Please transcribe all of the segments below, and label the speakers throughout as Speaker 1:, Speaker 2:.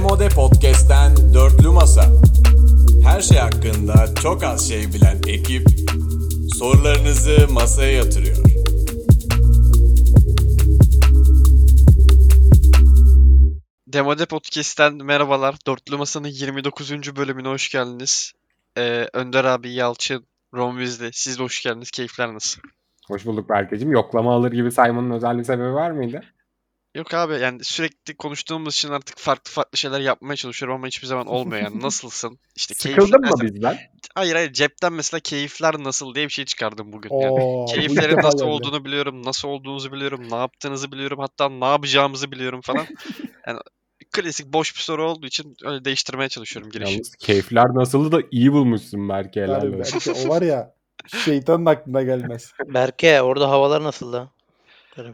Speaker 1: Komode Podcast'ten Dörtlü Masa. Her şey hakkında çok az şey bilen ekip sorularınızı masaya yatırıyor.
Speaker 2: Demode Podcast'ten merhabalar. Dörtlü Masa'nın 29. bölümüne hoş geldiniz. Ee, Önder abi, Yalçın, Ron Weasley. Siz de hoş geldiniz. Keyifler nasıl?
Speaker 3: Hoş bulduk Berke'cim. Yoklama alır gibi saymanın özel bir sebebi var mıydı?
Speaker 2: Yok abi yani sürekli konuştuğumuz için artık farklı farklı şeyler yapmaya çalışıyorum ama hiçbir zaman olmuyor yani. Nasılsın? İşte keyifler-
Speaker 3: Sıkıldın mı bizden?
Speaker 2: Hayır hayır cepten mesela keyifler nasıl diye bir şey çıkardım bugün. Yani
Speaker 4: Oo, bu
Speaker 2: keyiflerin
Speaker 4: ilk defa
Speaker 2: nasıl
Speaker 4: geldi.
Speaker 2: olduğunu biliyorum, nasıl olduğunuzu biliyorum, ne yaptığınızı biliyorum, hatta ne yapacağımızı biliyorum falan. Yani klasik boş bir soru olduğu için öyle değiştirmeye çalışıyorum girişi.
Speaker 3: Yalnız keyifler nasıldı da iyi bulmuşsun Berke helal
Speaker 4: Abi
Speaker 3: olsun.
Speaker 4: belki o var ya şeytanın aklına gelmez.
Speaker 5: Berke orada havalar nasıl da?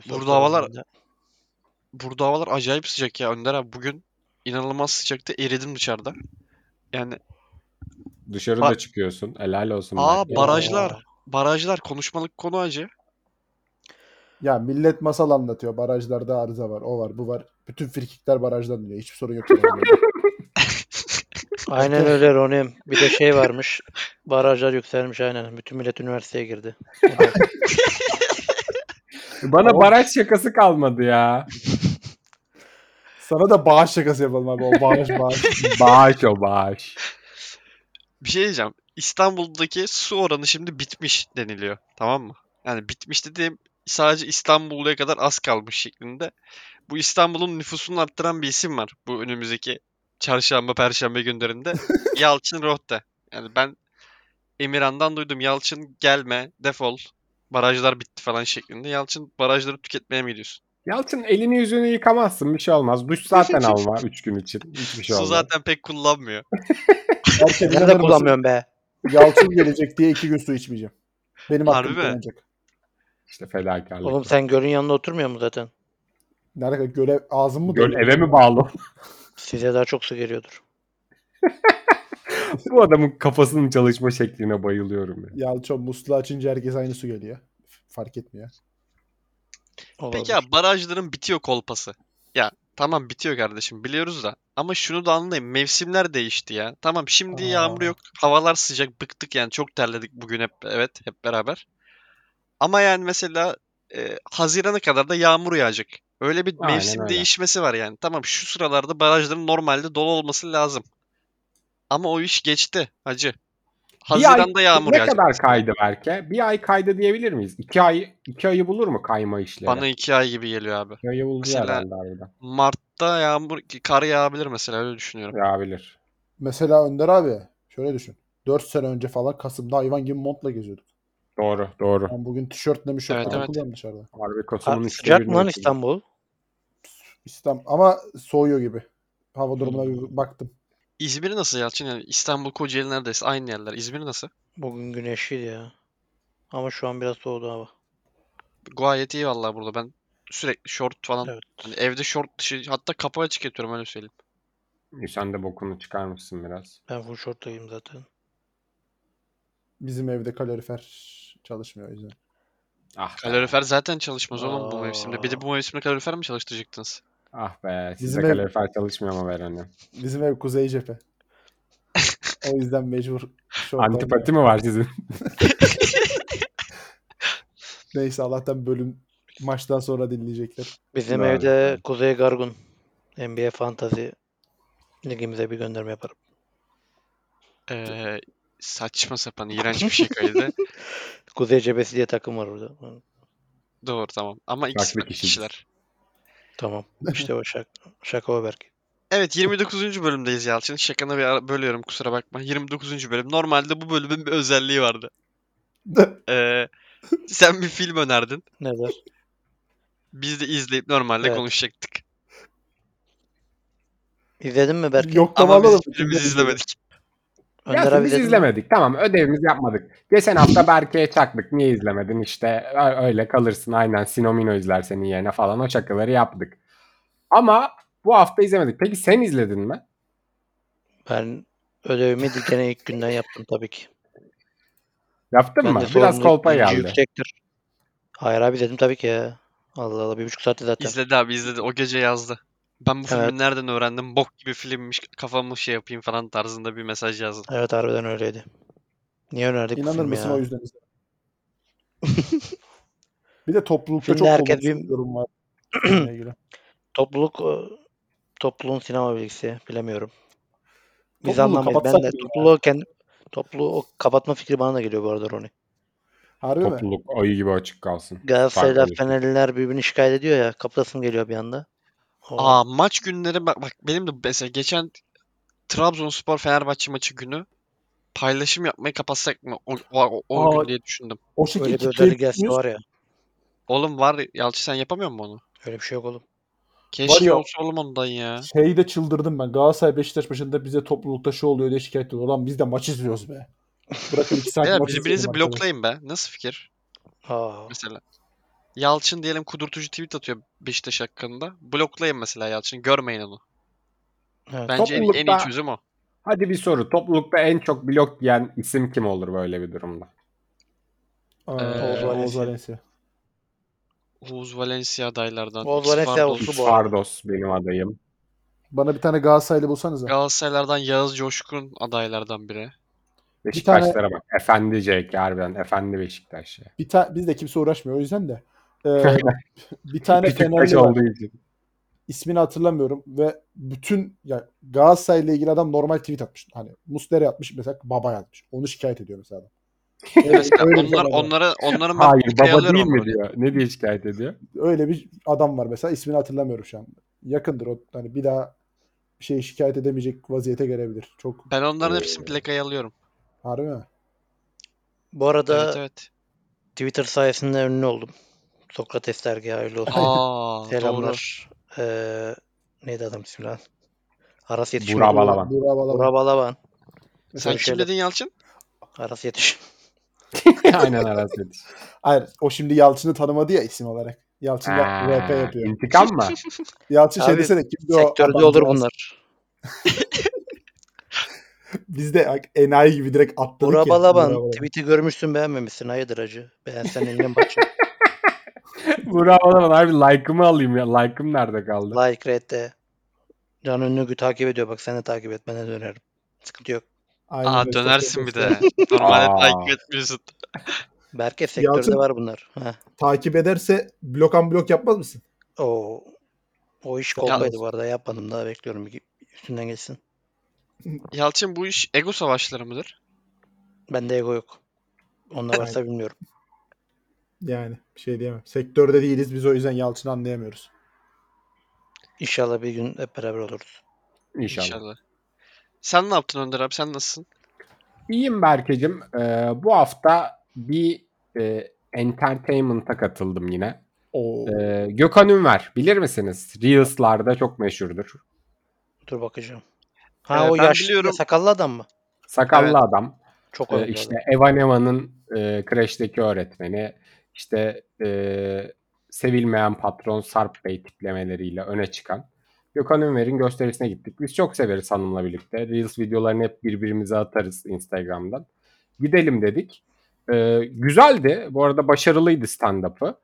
Speaker 2: Burada havalar- Burada havalar acayip sıcak ya Önder abi. Bugün inanılmaz sıcakta eridim dışarıda. Yani
Speaker 3: Dışarıda
Speaker 2: Ba-
Speaker 3: çıkıyorsun. Helal olsun
Speaker 2: aa
Speaker 3: Berke.
Speaker 2: barajlar, barajlar konuşmalık konu acı.
Speaker 4: Ya millet masal anlatıyor. Barajlarda arıza var. O var bu var. Bütün frikikler barajdan dönüyor. Hiçbir sorun yok.
Speaker 5: Aynen öyle Ronim. Bir de şey varmış. Barajlar yükselmiş aynen. Bütün millet üniversiteye girdi.
Speaker 3: Bana baraj şakası kalmadı ya.
Speaker 4: Sana da bağış şakası yapalım abi. O bağış bağış.
Speaker 3: bağış o bağış.
Speaker 2: Bir şey diyeceğim. İstanbul'daki su oranı şimdi bitmiş deniliyor. Tamam mı? Yani bitmiş dediğim sadece İstanbul'a kadar az kalmış şeklinde. Bu İstanbul'un nüfusunu arttıran bir isim var. Bu önümüzdeki çarşamba, perşembe günlerinde. Yalçın Rohde. Yani ben Emirhan'dan duydum. Yalçın gelme, defol. Barajlar bitti falan şeklinde. Yalçın barajları tüketmeye mi gidiyorsun?
Speaker 3: Yalçın elini yüzünü yıkamazsın. Bir şey olmaz. Duş zaten alma 3 gün için. Hiçbir
Speaker 2: Su
Speaker 3: şey olmaz.
Speaker 2: zaten pek kullanmıyor.
Speaker 4: Herkes
Speaker 5: Ben de
Speaker 4: inanır mısın?
Speaker 5: kullanmıyorum be.
Speaker 4: Yalçın gelecek diye iki gün su içmeyeceğim. Benim
Speaker 2: Harbi
Speaker 4: aklım
Speaker 2: mi?
Speaker 4: kullanacak.
Speaker 3: İşte fedakarlık.
Speaker 5: Oğlum sen gölün yanında oturmuyor mu zaten?
Speaker 4: Nerede görev ağzım mı?
Speaker 3: Göl
Speaker 4: dönüyor?
Speaker 3: eve mi bağlı?
Speaker 5: Size daha çok su geliyordur.
Speaker 3: Bu adamın kafasının çalışma şekline bayılıyorum. ya.
Speaker 4: Yalçın musluğu açınca herkes aynı su geliyor. Fark etmiyor.
Speaker 5: Olabilir.
Speaker 2: Peki ya barajların bitiyor kolpası. Ya tamam bitiyor kardeşim biliyoruz da. Ama şunu da anlayın mevsimler değişti ya. Tamam şimdi
Speaker 4: Aa.
Speaker 2: yağmur yok. Havalar sıcak bıktık yani çok terledik bugün hep evet hep beraber. Ama yani mesela e, Haziran'a kadar da yağmur yağacak. Öyle bir
Speaker 3: Aynen
Speaker 2: mevsim
Speaker 3: öyle.
Speaker 2: değişmesi var yani. Tamam şu sıralarda barajların normalde dolu olması lazım. Ama o iş geçti hacı.
Speaker 3: Bir ay-
Speaker 2: Haziran'da yağmur
Speaker 3: Ne
Speaker 2: yağacak.
Speaker 3: kadar kaydı Berke? Bir ay kaydı diyebilir miyiz? İki ay, iki ayı bulur mu kayma işleri?
Speaker 2: Bana iki ay gibi geliyor abi.
Speaker 3: iki ayı bulur
Speaker 2: Mesela-
Speaker 3: herhalde harbiden.
Speaker 2: Mart'ta yağmur kar yağabilir mesela öyle düşünüyorum.
Speaker 3: Yağabilir.
Speaker 4: Mesela Önder abi şöyle düşün. 4 sene önce falan Kasım'da hayvan gibi montla geziyorduk.
Speaker 3: Doğru doğru.
Speaker 4: Ben bugün tişörtle mişörtle
Speaker 2: Evet,
Speaker 4: evet,
Speaker 2: evet.
Speaker 4: dışarıda.
Speaker 3: Harbi
Speaker 5: Ha,
Speaker 3: Kasım'ın üçte
Speaker 5: sıcak
Speaker 3: birini
Speaker 5: mı lan
Speaker 3: yaşadık.
Speaker 5: İstanbul?
Speaker 4: İstem ama soğuyor gibi. Hava durumuna bir baktım.
Speaker 2: İzmir nasıl Yalçın? Yani İstanbul, Kocaeli neredeyse aynı yerler. İzmir nasıl?
Speaker 5: Bugün güneşliydi ya. Ama şu an biraz soğudu hava.
Speaker 2: Gayet iyi vallahi burada. Ben sürekli şort falan.
Speaker 5: Evet.
Speaker 2: Hani evde şort dışı hatta kapağı açık yatıyorum öyle söyleyeyim.
Speaker 3: Sen de bokunu çıkarmışsın biraz.
Speaker 5: Ben full şorttayım zaten.
Speaker 4: Bizim evde kalorifer çalışmıyor o yüzden.
Speaker 3: Ah be.
Speaker 2: Kalorifer zaten çalışmaz oğlum bu mevsimde. Bir de
Speaker 5: Aa.
Speaker 2: bu mevsimde kalorifer mi çalıştıracaktınız?
Speaker 3: Ah be. Sizde
Speaker 4: Bizim ev-
Speaker 3: kalorifer çalışmıyor hani. mu Beren'e?
Speaker 4: Bizim ev kuzey cephe. o yüzden mecbur şortla
Speaker 3: Antipati mi var sizin?
Speaker 4: Neyse Allah'tan bölüm maçtan sonra dinleyecekler.
Speaker 5: Bizim
Speaker 3: Doğru.
Speaker 5: evde Kuzey Gargun NBA Fantasy ligimize bir gönderme yaparım.
Speaker 2: Ee, saçma sapan iğrenç bir şey kaydı.
Speaker 5: Kuzey Cebesi diye takım var orada.
Speaker 2: Doğru tamam. Ama ikisi
Speaker 3: Farklı
Speaker 2: farklı
Speaker 3: kişiyiz.
Speaker 2: kişiler.
Speaker 5: Tamam. İşte o şaka. Şaka o Berke.
Speaker 2: Evet 29. bölümdeyiz Yalçın. Şakana bir ara bölüyorum kusura bakma. 29. bölüm. Normalde bu bölümün bir özelliği vardı. Ee, sen bir film önerdin.
Speaker 5: Neler?
Speaker 2: Biz de izleyip normalde
Speaker 5: Evet.
Speaker 2: konuşacaktık.
Speaker 5: İzledin mi Berke?
Speaker 4: Yok tamam
Speaker 2: Ama
Speaker 4: alalım.
Speaker 2: biz filmimizi izlemedik.
Speaker 5: Önder
Speaker 3: ya
Speaker 5: abi
Speaker 3: biz
Speaker 5: izledin mi?
Speaker 3: izlemedik. Tamam ödevimizi yapmadık. Geçen hafta Berke'ye çaktık. Niye izlemedin işte ö- öyle kalırsın aynen Sinomino izler senin yerine falan o şakaları yaptık. Ama bu hafta izlemedik. Peki sen izledin mi?
Speaker 5: Ben ödevimi gene ilk günden yaptım tabii ki.
Speaker 3: Yaptın
Speaker 5: Ben
Speaker 3: mı?
Speaker 5: de
Speaker 3: Biraz
Speaker 5: sorumluluk
Speaker 3: kolpa
Speaker 5: bilinci
Speaker 3: geldi.
Speaker 5: Yüksektir. Hayır abi dedim tabii ki ya. Allah Allah bir buçuk saatte zaten.
Speaker 2: İzledi abi izledi. O gece yazdı. Ben bu
Speaker 5: Evet.
Speaker 2: filmi nereden öğrendim? Bok gibi filmmiş. Kafamı şey yapayım falan tarzında bir mesaj yazdım.
Speaker 5: Evet harbiden öyleydi. Niye önerdik bu
Speaker 4: İnanır
Speaker 5: filmi
Speaker 4: mısın
Speaker 5: ya?
Speaker 4: o yüzden izledim. bir de toplulukta
Speaker 5: Filmde
Speaker 4: çok
Speaker 5: herkes
Speaker 4: herkes
Speaker 5: bir-
Speaker 4: yorum var. bununla ilgili.
Speaker 5: Topluluk e, topluluğun sinema bilgisi bilemiyorum. Biz
Speaker 4: Topluluğu
Speaker 5: anlamayız. Ben
Speaker 4: kapatsak mı
Speaker 5: de
Speaker 4: ya?
Speaker 5: topluluğu kendi topluluğu o kapatma fikri bana da geliyor bu arada Roni.
Speaker 4: Harbi mi?
Speaker 3: Topluluk ayı gibi açık kalsın.
Speaker 5: Galatasaraylılar,
Speaker 3: Farklı bir şey.
Speaker 5: Fenerliler birbirini şikayet ediyor ya. Kapatasım geliyor bir anda. O-
Speaker 2: Aa maç günleri bak, bak benim de mesela geçen Trabzonspor Fenerbahçe maçı günü paylaşım yapmayı kapatsak mı o, o, o gün
Speaker 4: Aa.
Speaker 2: diye düşündüm.
Speaker 4: O şekilde
Speaker 5: Öyle bir
Speaker 4: kitleye
Speaker 5: özellik gelse
Speaker 4: düşmüş.
Speaker 5: var ya.
Speaker 2: Oğlum var Yalçı sen yapamıyor musun onu?
Speaker 5: Öyle bir şey yok oğlum.
Speaker 2: Keşke
Speaker 4: ya-
Speaker 2: olsa oğlum ondan ya.
Speaker 4: Şeyi de çıldırdım ben. Galatasaray Beşiktaş maçında bize toplulukta şu oluyor diye şikayet ediyor. Lan biz de maç izliyoruz be. Bırakın iki saat
Speaker 2: Beyler
Speaker 4: maç
Speaker 2: birbirinizi
Speaker 4: izleyelim arkadaş.
Speaker 2: bloklayın be. Nasıl fikir?
Speaker 5: Aa,
Speaker 2: Mesela. Yalçın diyelim kudurtucu tweet atıyor Beşiktaş hakkında. Bloklayın mesela Yalçın. Görmeyin onu.
Speaker 5: evet.
Speaker 2: Bence en, en iyi
Speaker 3: Toplulukta-
Speaker 2: çözüm o.
Speaker 3: Hadi bir soru. Toplulukta en çok blok yiyen isim kim olur böyle bir durumda?
Speaker 4: Aa,
Speaker 2: Ee,
Speaker 4: Oğuz Valencia.
Speaker 2: Oğuz Valencia adaylardan.
Speaker 5: Oğuz Valencia
Speaker 2: Xfardos.
Speaker 5: olsun.
Speaker 3: Üç
Speaker 5: bu arada.
Speaker 3: Fardos benim adayım.
Speaker 4: Bana bir tane Galatasaraylı bulsanıza.
Speaker 2: Galatasaraylardan Yağız Coşkun adaylardan biri.
Speaker 3: Beşiktaşlara bak. Efendi CK harbiden. Efendi Beşiktaş ya.
Speaker 4: Bir ta- biz de kimse uğraşmıyor o yüzden de. Ee, bir tane
Speaker 3: Küçüktaş
Speaker 4: Fenerli var.
Speaker 3: olduğu için.
Speaker 4: ismini hatırlamıyorum ve bütün yani Galatasaray'la ilgili adam normal tweet atmış. Hani Muslera atmış mesela baba yazmış. Onu şikayet ediyor mesela adam. Öyle,
Speaker 2: Mesela
Speaker 4: öyle bir
Speaker 5: şey
Speaker 2: onlar,
Speaker 4: adam var.
Speaker 2: onlara, onların ben
Speaker 3: Hayır
Speaker 2: kopya
Speaker 3: baba
Speaker 2: alıyorum
Speaker 3: değil mi
Speaker 2: ama.
Speaker 3: diyor. Ne diye şikayet ediyor?
Speaker 4: öyle bir adam var mesela ismini hatırlamıyorum şu an. Yakındır o hani bir daha bir şey şikayet edemeyecek vaziyete gelebilir. Çok
Speaker 2: Ben
Speaker 5: Ee,
Speaker 2: onların hepsini
Speaker 3: Oo.
Speaker 2: plakaya alıyorum.
Speaker 4: harbi mi?
Speaker 5: Bu arada
Speaker 2: Evet evet.
Speaker 5: Twitter sayesinde ünlü oldum. Sokrates dergi hayırlı olsun.
Speaker 2: Aa doğru.
Speaker 5: Selamlar. Ee, neydi adam ismi lan? Aras Yetişim.
Speaker 3: Burak Balaban.
Speaker 4: Burak Balaban.
Speaker 5: Bura Balaban.
Speaker 2: Sen
Speaker 5: Mesela
Speaker 2: kim
Speaker 5: şöyle-
Speaker 2: dedin Yalçın?
Speaker 5: Aras Yetişim.
Speaker 3: Aynen Aras Yetiş.
Speaker 4: Hayır o şimdi Yalçın'ı tanımadı ya isim olarak. Yalçın
Speaker 3: Ha,
Speaker 4: ya- RP yapıyor.
Speaker 3: İntikam mı?
Speaker 4: Yalçın şey
Speaker 5: Abi,
Speaker 4: desene kimdi o
Speaker 5: Sektörde
Speaker 4: adamcağız?
Speaker 5: olur bunlar.
Speaker 4: Biz de enayi gibi direkt atladık ya.
Speaker 5: Bura
Speaker 4: Burak
Speaker 5: Balaban. Tweet'i görmüşsün beğenmemişsin. Hayırdır acı. Beğensen elinden başa.
Speaker 3: Burak Balaban harbi like'ımı alayım ya. Like'ım nerede kaldı?
Speaker 5: like, rate de. Can Ünlügü takip ediyor. Bak sen de takip et. Ben de dönerim. Sıkıntı yok.
Speaker 4: Aynen
Speaker 2: Aa
Speaker 4: öyle,
Speaker 2: dönersin bir
Speaker 4: Sokrates.
Speaker 2: de. Normalde
Speaker 3: Aa.
Speaker 2: takip etmiyorsun.
Speaker 5: Berke sektörde
Speaker 4: Yalçın-
Speaker 5: var bunlar. Heh.
Speaker 4: takip ederse blok an blok yapmaz mısın?
Speaker 5: O, o iş kolpaydı bu arada. Yapmadım daha bekliyorum. Bir- Üstünden geçsin.
Speaker 2: Yalçın bu iş ego savaşları mıdır?
Speaker 5: Bende ego yok. Onlar varsa bilmiyorum.
Speaker 4: Yani bir şey diyemem. Sektörde değiliz biz o yüzden Yalçın'ı anlayamıyoruz.
Speaker 5: İnşallah bir gün hep beraber oluruz.
Speaker 3: İnşallah.
Speaker 2: Sen ne yaptın Önder abi? Sen nasılsın?
Speaker 3: İyiyim Berke'cim. Ee, bu hafta bir e, entertainment'a katıldım yine.
Speaker 4: Oo.
Speaker 3: Ee, Gökhan Ünver bilir misiniz? Reels'larda çok meşhurdur.
Speaker 5: Dur bakacağım. Ha
Speaker 2: Ee,
Speaker 5: o
Speaker 2: ben
Speaker 5: yaşlı
Speaker 2: biliyorum.
Speaker 5: sakallı adam mı?
Speaker 3: Sakallı
Speaker 2: Evet.
Speaker 3: adam.
Speaker 5: Çok
Speaker 3: Ee,
Speaker 5: öyle.
Speaker 3: işte Evan Evan'ın e, kreşteki öğretmeni. İşte e, sevilmeyen patron Sarp Bey tiplemeleriyle öne çıkan. Gökhan Ünver'in gösterisine gittik. Biz çok severiz hanımla birlikte. Reels videolarını hep birbirimize atarız Instagram'dan. Gidelim dedik. Ee, güzeldi. Bu arada başarılıydı stand-up'ı.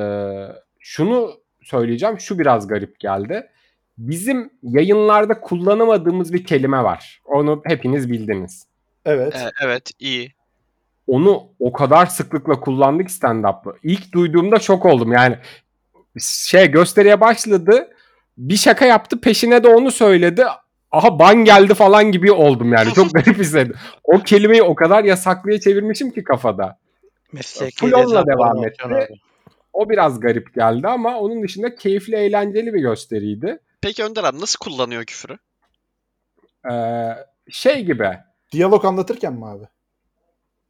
Speaker 3: Ee, şunu söyleyeceğim. Şu biraz garip geldi. Bizim yayınlarda kullanamadığımız bir kelime var. Onu hepiniz bildiniz
Speaker 4: Evet.
Speaker 2: Ee, evet iyi.
Speaker 3: onu o kadar sıklıkla kullandık stand-up'ı. İlk duyduğumda şok oldum. Yani şey gösteriye başladı. Bir şaka yaptı peşine de onu söyledi. Aha ban geldi falan gibi oldum yani. Çok garip hissettim. O kelimeyi o kadar yasaklıya çevirmişim ki kafada.
Speaker 5: Mesleki
Speaker 3: Full onunla
Speaker 5: dezenformasyon
Speaker 3: devam etti.
Speaker 5: abi.
Speaker 3: O biraz garip geldi ama onun dışında keyifli eğlenceli bir gösteriydi.
Speaker 2: Peki Önder abi nasıl kullanıyor küfürü?
Speaker 3: Ee, şey gibi
Speaker 4: Diyalog anlatırken mi abi?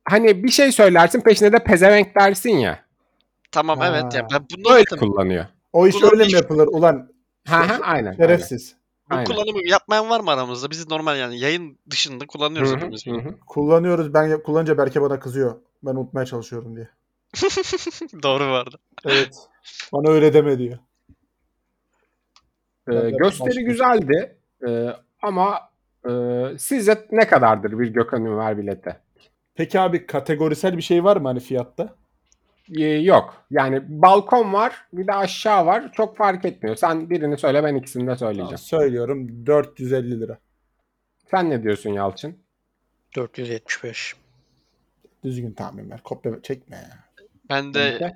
Speaker 3: hani bir şey söylersin peşine de pezevenk dersin ya.
Speaker 2: Tamam
Speaker 4: Ha.
Speaker 2: evet. Yani ben bunu
Speaker 3: Böyle
Speaker 2: anlatamıyorum.
Speaker 3: kullanıyor.
Speaker 4: O iş
Speaker 2: Ulan
Speaker 4: öyle mi
Speaker 2: iş-
Speaker 4: yapılır ulan?
Speaker 3: Ha ha aynen. aynen.
Speaker 4: Şerefsiz.
Speaker 2: Bu
Speaker 3: Aynen.
Speaker 2: kullanımı yapmayan var mı aramızda? Biz normal yani yayın dışında kullanıyoruz
Speaker 3: Hı hı,
Speaker 2: hepimiz.
Speaker 3: hı hı.
Speaker 4: Kullanıyoruz. Ben yap- kullanınca Berke bana kızıyor. Ben unutmaya çalışıyorum diye.
Speaker 2: Doğru vardı.
Speaker 4: Evet. bana öyle deme diyor.
Speaker 3: Ee,
Speaker 4: Ben de
Speaker 3: gösteri
Speaker 4: başka- şey.
Speaker 3: güzeldi Ee, ama e, sizce ne kadardır bir Gökhan Ünver bileti?
Speaker 4: Peki abi kategorisel bir şey var mı hani fiyatta?
Speaker 3: e, yok. Yani balkon var bir de aşağı var. Çok fark etmiyor. Sen birini söyle ben ikisini de söyleyeceğim.
Speaker 4: Tamam, söylüyorum 450 lira.
Speaker 3: Sen ne diyorsun Yalçın?
Speaker 5: 475.
Speaker 4: Düzgün tahmin ver. Kopya çekme ya.
Speaker 2: Ben de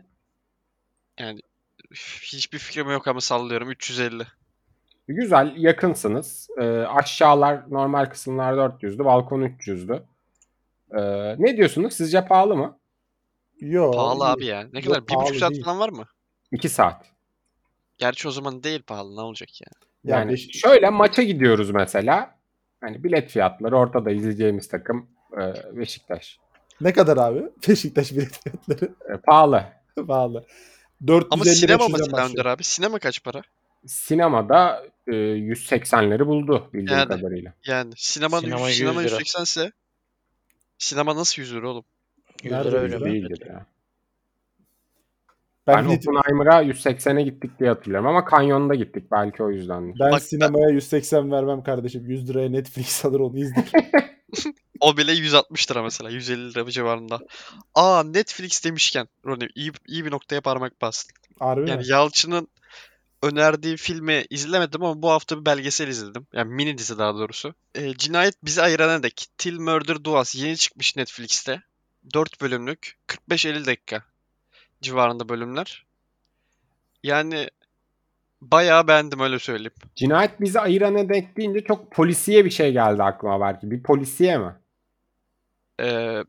Speaker 2: hiçbir fikrim yok ama sallıyorum 350.
Speaker 3: Güzel yakınsınız. Ee, aşağılar normal kısımlar 400'dü. Balkon 300'dü. Ee, ne diyorsunuz? Sizce pahalı mı?
Speaker 4: Yo,
Speaker 2: Pahalı
Speaker 4: iyi.
Speaker 2: abi ya. Ne kadar? Bir buçuk
Speaker 4: pahalı
Speaker 2: saat
Speaker 4: değil.
Speaker 2: falan var mı?
Speaker 3: 2 saat.
Speaker 2: Gerçi o zaman değil pahalı ne olacak ya.
Speaker 4: Ya
Speaker 3: Yani
Speaker 4: beş-
Speaker 3: şöyle maça gidiyoruz mesela. Hani bilet fiyatları ortada izleyeceğimiz takım e, Beşiktaş.
Speaker 4: Ne kadar abi? Beşiktaş bilet fiyatları.
Speaker 3: E, pahalı.
Speaker 4: Pahalı. 450
Speaker 2: Ama sinema
Speaker 4: 500'den
Speaker 2: mesela
Speaker 4: başlıyor.
Speaker 2: Önder abi. Sinema kaç para?
Speaker 3: Sinemada e, 180'leri buldu bildiğim
Speaker 2: Yani.
Speaker 3: kadarıyla.
Speaker 2: Yani sinema,
Speaker 5: Sinema
Speaker 2: sinema,
Speaker 5: 100
Speaker 2: sinema
Speaker 5: lira.
Speaker 2: 180 ise sinema nasıl 100 lira oğlum?
Speaker 5: 100
Speaker 4: Nerede
Speaker 5: lira
Speaker 4: bu
Speaker 5: öyle
Speaker 4: lira?
Speaker 5: mi?
Speaker 3: Değildir ya.
Speaker 4: Ben,
Speaker 3: Ben
Speaker 4: ne-
Speaker 3: Oppenheimer'a 180'e gittik diye hatırlıyorum ama Kanyon'da gittik belki o yüzdendir.
Speaker 4: ben
Speaker 2: Bak-
Speaker 4: sinemaya 180 vermem kardeşim. 100 liraya Netflix alır onu izler.
Speaker 2: O bile 160 lira mesela. 150 lira civarında. Aa Netflix demişken Roni iyi, iyi bir noktaya parmak bastın.
Speaker 4: Harbi mi?
Speaker 2: Yani Yalçın'ın önerdiği filmi izlemedim ama bu hafta bir belgesel izledim. Yani mini dizi daha doğrusu. Ee, Cinayet Bizi Ayırana Dek. Till Murder Duas yeni çıkmış Netflix'te. 4 bölümlük 45-50 dakika civarında bölümler. Yani bayağı beğendim öyle söyleyeyim.
Speaker 3: Cinayet bizi ayırana denk deyince çok polisiye bir şey geldi aklıma belki. Bir polisiye mi?
Speaker 2: Ee,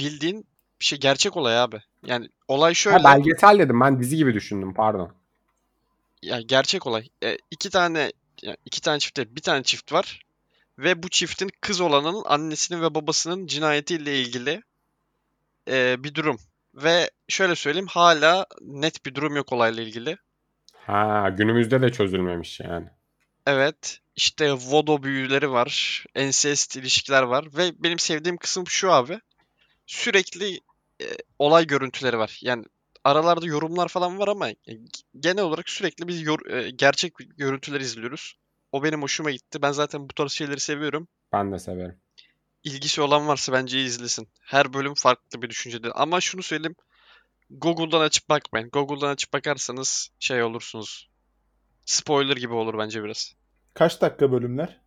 Speaker 2: bildiğin bir şey gerçek olay abi. Yani olay şöyle.
Speaker 3: Ha, belgesel dedim ben dizi gibi düşündüm pardon.
Speaker 2: ya gerçek olay. E, iki tane ya iki tane çift değil, bir tane çift var ve bu çiftin kız olanın annesinin ve babasının cinayetiyle ilgili e, bir durum. Ve şöyle söyleyeyim hala net bir durum yok olayla ilgili.
Speaker 3: Ha günümüzde de çözülmemiş yani.
Speaker 2: Evet, işte vodo büyüleri var, ensest ilişkiler var ve benim sevdiğim kısım şu abi. Sürekli e, olay görüntüleri var. Yani aralarda yorumlar falan var ama e, genel olarak sürekli biz yor- e, gerçek görüntüler izliyoruz. O benim hoşuma gitti. Ben zaten bu tarz şeyleri seviyorum.
Speaker 3: Ben de severim.
Speaker 2: İlgisi olan varsa bence izlesin. Her bölüm farklı bir düşüncede. Ama şunu söyleyeyim. Google'dan açıp bakmayın. Google'dan açıp bakarsanız şey olursunuz. Spoiler gibi olur bence biraz.
Speaker 4: Kaç dakika bölümler?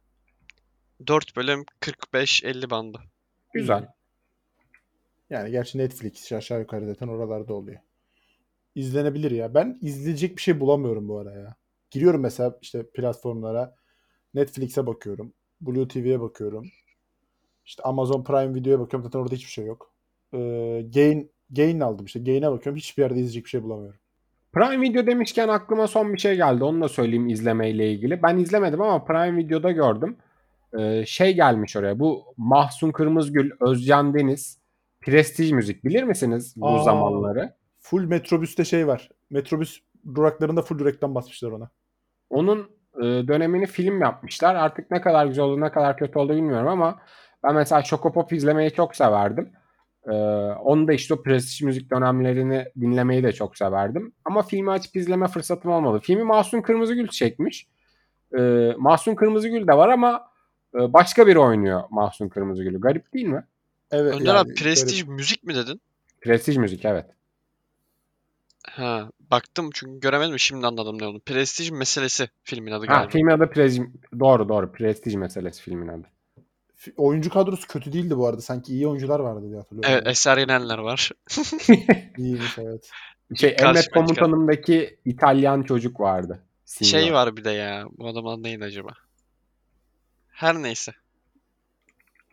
Speaker 2: 4 bölüm 45-50 bandı.
Speaker 3: Güzel.
Speaker 4: Yani gerçi Netflix aşağı yukarı zaten oralarda oluyor. İzlenebilir ya. Ben izleyecek bir şey bulamıyorum bu ara ya. Giriyorum mesela işte platformlara. Netflix'e bakıyorum. Blue TV'ye bakıyorum. İşte Amazon Prime Video'ya bakıyorum. Zaten orada hiçbir şey yok. Ee, Gain, Gain aldım işte. Gain'e bakıyorum. Hiçbir yerde izleyecek bir şey bulamıyorum.
Speaker 3: Prime Video demişken aklıma son bir şey geldi. Onu da söyleyeyim izlemeyle ilgili. Ben izlemedim ama Prime Video'da gördüm. Ee, şey gelmiş oraya. Bu Mahsun Kırmızgül, Özcan Deniz, Prestige Müzik bilir misiniz bu
Speaker 4: Aa.
Speaker 3: zamanları?
Speaker 4: Full metrobüste şey var. Metrobüs duraklarında full reklam basmışlar ona.
Speaker 3: Onun e, dönemini film yapmışlar. Artık ne kadar güzel oldu, ne kadar kötü oldu bilmiyorum ama ben mesela Şokopop izlemeyi çok severdim. E, onu da işte o prestij müzik dönemlerini dinlemeyi de çok severdim. Ama filmi açıp izleme fırsatım olmadı. Filmi Mahsun Kırmızıgül çekmiş. E, Mahsun Kırmızıgül de var ama e, başka biri oynuyor Mahsun Kırmızıgül'ü. Garip değil mi?
Speaker 4: Evet.
Speaker 2: Önder
Speaker 4: Ee, yani
Speaker 2: abi prestij
Speaker 4: garip.
Speaker 2: müzik mi dedin?
Speaker 3: Prestij müzik evet.
Speaker 2: Ha, baktım çünkü göremedim şimdi anladım ne oldu. Prestij meselesi filmin adı
Speaker 3: Ha,
Speaker 2: galiba.
Speaker 3: filmin adı Prestij. Doğru doğru. Prestij meselesi filmin adı.
Speaker 4: F- Oyuncu kadrosu kötü değildi bu arada. Sanki iyi oyuncular vardı diye hatırlıyorum.
Speaker 2: Evet Eser Yenenler var.
Speaker 4: İyiymiş evet.
Speaker 3: Şey Emret
Speaker 2: Karşıma çıkan.
Speaker 3: Komutanım'daki İtalyan çocuk vardı. Signor.
Speaker 2: Şey var bir de ya bu adamın adı neydi acaba? Her neyse.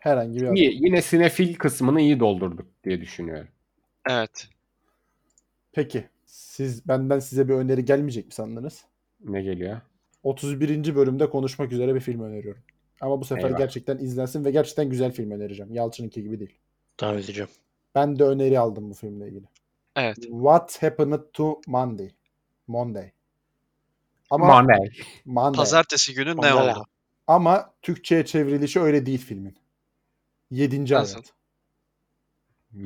Speaker 4: Herhangi bir adam.
Speaker 3: İyi, yine sinefil kısmını iyi doldurduk diye düşünüyorum.
Speaker 2: Evet.
Speaker 4: Peki. Siz benden size bir öneri gelmeyecek mi sandınız?
Speaker 3: Ne geliyor?
Speaker 4: 31. bölümde konuşmak üzere bir film öneriyorum. Ama bu sefer
Speaker 3: Eyvah.
Speaker 4: gerçekten izlensin ve gerçekten güzel film önereceğim. Yalçın'ınki gibi değil.
Speaker 5: Tamam izleyeceğim.
Speaker 4: Ben de öneri aldım bu filmle ilgili.
Speaker 2: Evet.
Speaker 4: What Happened to Monday? Monday. Ama
Speaker 3: Money.
Speaker 4: Monday.
Speaker 2: Pazartesi günü ne
Speaker 5: Onlara.
Speaker 2: oldu?
Speaker 4: Ama Türkçe'ye çevrilişi öyle değil filmin. Yedinci
Speaker 2: Nasıl?
Speaker 4: hayat.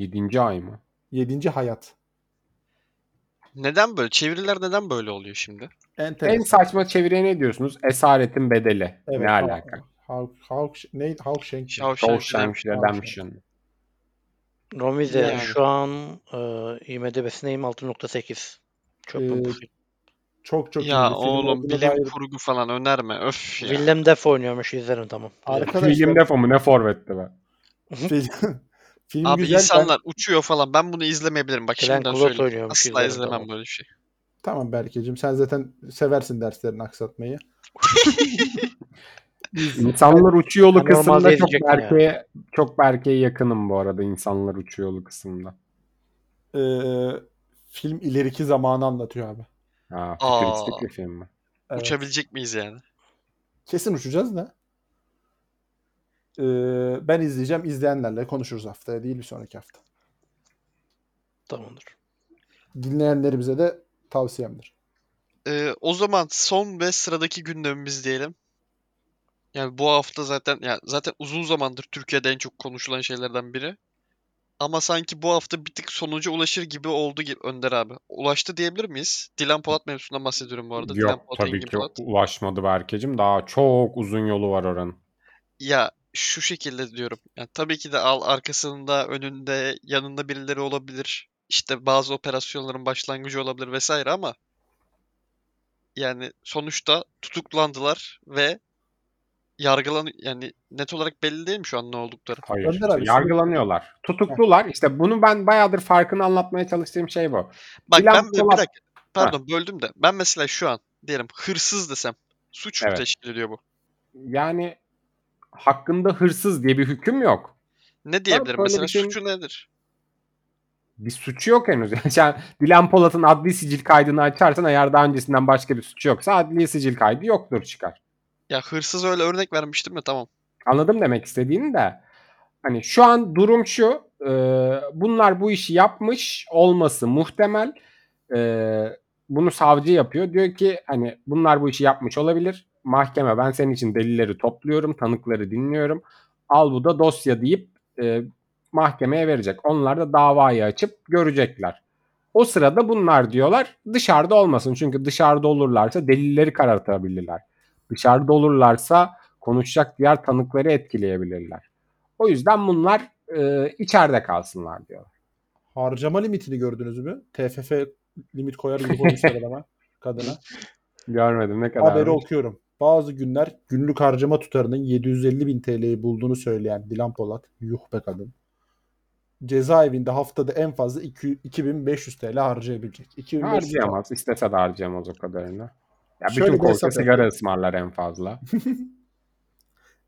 Speaker 3: Yedinci ay mı?
Speaker 4: Yedinci hayat.
Speaker 2: Neden böyle? Çeviriler neden böyle oluyor şimdi?
Speaker 3: En
Speaker 4: Enteresan.
Speaker 3: saçma çeviriye ne diyorsunuz? Esaretin bedeli.
Speaker 4: Evet,
Speaker 3: ne
Speaker 4: tamam. şey
Speaker 3: alaka?
Speaker 4: Hawk, Hawk, ne, Hawkshank.
Speaker 2: Shawshank
Speaker 3: Shawshank
Speaker 2: Redemption.
Speaker 3: Redemption.
Speaker 5: Romize
Speaker 2: Yani.
Speaker 5: şu an e, IMDb Sname 6.8. Çöp
Speaker 4: Ee,
Speaker 5: pompası.
Speaker 4: Çok çok iyi bir
Speaker 2: ya
Speaker 4: film
Speaker 2: oğlum
Speaker 4: olduğuna
Speaker 2: bilim
Speaker 4: dair-
Speaker 2: kurgu falan önerme. Öf ya.
Speaker 5: Willem Dafoe oynuyormuş izlerim tamam.
Speaker 4: Arkadaşlar
Speaker 3: William Defoe mu ne forvetti be.
Speaker 4: film, film
Speaker 2: Abi
Speaker 4: güzel. ben-
Speaker 2: insanlar uçuyor falan. Ben bunu izlemeyebilirim. Bak
Speaker 5: Glenn
Speaker 2: şimdiden
Speaker 5: Close
Speaker 2: söyleyeyim.
Speaker 5: oynuyormuş,
Speaker 2: Asla
Speaker 5: izlerim,
Speaker 2: izlemem
Speaker 5: tamam.
Speaker 2: böyle bir şey.
Speaker 4: Tamam Berke'cim sen zaten seversin derslerini aksatmayı.
Speaker 3: İnsanlar uçuyolu
Speaker 5: Normalde
Speaker 3: kısmında çok
Speaker 5: izleyecektim yani.
Speaker 3: Berke'ye çok Berke'ye yakınım bu arada insanlar uçuyolu kısmında.
Speaker 4: Ee, film ileriki zamanı anlatıyor abi.
Speaker 3: Ha,
Speaker 2: Aa.
Speaker 3: futuristik bir film mi?
Speaker 4: Evet.
Speaker 2: Uçabilecek miyiz yani?
Speaker 4: Kesin uçacağız da. Ee, ben izleyeceğim. izleyenlerle konuşuruz haftaya değil bir sonraki hafta.
Speaker 5: Tamamdır.
Speaker 4: Dinleyenlerimize de tavsiyemdir.
Speaker 2: Ee, o zaman son ve sıradaki gündemimiz diyelim. Yani bu hafta zaten ya zaten uzun zamandır Türkiye'de en çok konuşulan şeylerden biri. Ama sanki bu hafta bir tık sonuca ulaşır gibi oldu gibi Önder abi. Ulaştı diyebilir miyiz? Dilan Polat mevzusundan bahsediyorum bu arada. Dilan
Speaker 3: Yok
Speaker 2: Polat,
Speaker 3: tabii
Speaker 2: Engin
Speaker 3: ki
Speaker 2: Polat.
Speaker 3: ulaşmadı Berke'cim. Daha çok uzun yolu var oranın.
Speaker 2: Ya şu şekilde diyorum. Yani tabii ki de al arkasında, önünde, yanında birileri olabilir. İşte bazı operasyonların başlangıcı olabilir vesaire ama yani sonuçta tutuklandılar ve yargılan yani net olarak belli değil mi şu an ne oldukları?
Speaker 3: Hayır.
Speaker 4: Önder
Speaker 3: işte
Speaker 4: abi,
Speaker 3: yargılanıyorlar. Tutuklular. İşte bunu ben bayağıdır farkını anlatmaya çalıştığım şey bu.
Speaker 2: Bak
Speaker 3: Dilan
Speaker 2: ben bir- bir
Speaker 3: Polat-
Speaker 2: dakika pardon böldüm de ben mesela şu an diyelim hırsız desem suç mu
Speaker 3: Evet.
Speaker 2: teşkil ediyor bu?
Speaker 3: Yani hakkında hırsız diye bir hüküm yok.
Speaker 2: Ne diyebilirim
Speaker 3: böyle
Speaker 2: mesela
Speaker 3: bir şeyin-
Speaker 2: suçu nedir?
Speaker 3: Bir suçu yok henüz. Yani Dilan Polat'ın adli sicil kaydını açarsan eğer daha öncesinden başka bir suçu yoksa adli sicil kaydı yoktur çıkar.
Speaker 2: Ya hırsız öyle örnek vermiştim ya tamam.
Speaker 3: Anladım demek istediğini de. Hani şu an durum şu. e, bunlar bu işi yapmış olması muhtemel. E, bunu savcı yapıyor. Diyor ki hani bunlar bu işi yapmış olabilir. Mahkeme ben senin için delilleri topluyorum. Tanıkları dinliyorum. Al bu da dosya deyip e, mahkemeye verecek. Onlar da davayı açıp görecekler. O sırada bunlar diyorlar dışarıda olmasın. Çünkü dışarıda olurlarsa delilleri karartabilirler. Dışarıda olurlarsa konuşacak diğer tanıkları etkileyebilirler. O yüzden bunlar e, içeride kalsınlar diyorlar.
Speaker 4: Harcama limitini gördünüz mü? TFF limit koyar gibi koymuşlar adama. Kadına.
Speaker 3: Görmedim ne kadar.
Speaker 4: Haberi okuyorum. Bazı günler günlük harcama tutarının 750 bin TL'yi bulduğunu söyleyen Dilan Polat. Yuh be kadın. Cezaevinde haftada en fazla iki- 2500 TL harcayabilecek. 2500 TL.
Speaker 3: Harcayamaz. İstese de harcayamaz o kadarını. Ya
Speaker 4: şey Şöyle
Speaker 3: bütün
Speaker 4: bir
Speaker 3: korku
Speaker 4: hesap
Speaker 3: sigara ısmarlar en fazla.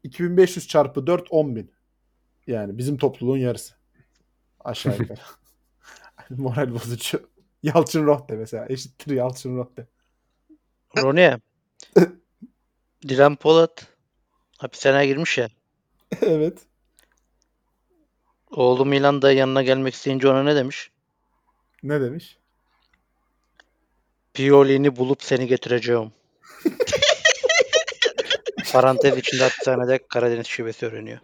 Speaker 4: 2500 çarpı 4 10 bin. Yani bizim topluluğun yarısı. Aşağı yukarı. Moral bozucu. Yalçın Rohde mesela. Eşittir Yalçın Rohde.
Speaker 5: Roni. Dilan Polat hapishaneye girmiş ya.
Speaker 4: evet.
Speaker 5: Oğlu Milan da yanına gelmek isteyince ona ne demiş?
Speaker 4: Ne demiş?
Speaker 5: Pioli'ni bulup seni getireceğim. Parantez içinde hapishanede Karadeniz şivesi öğreniyor.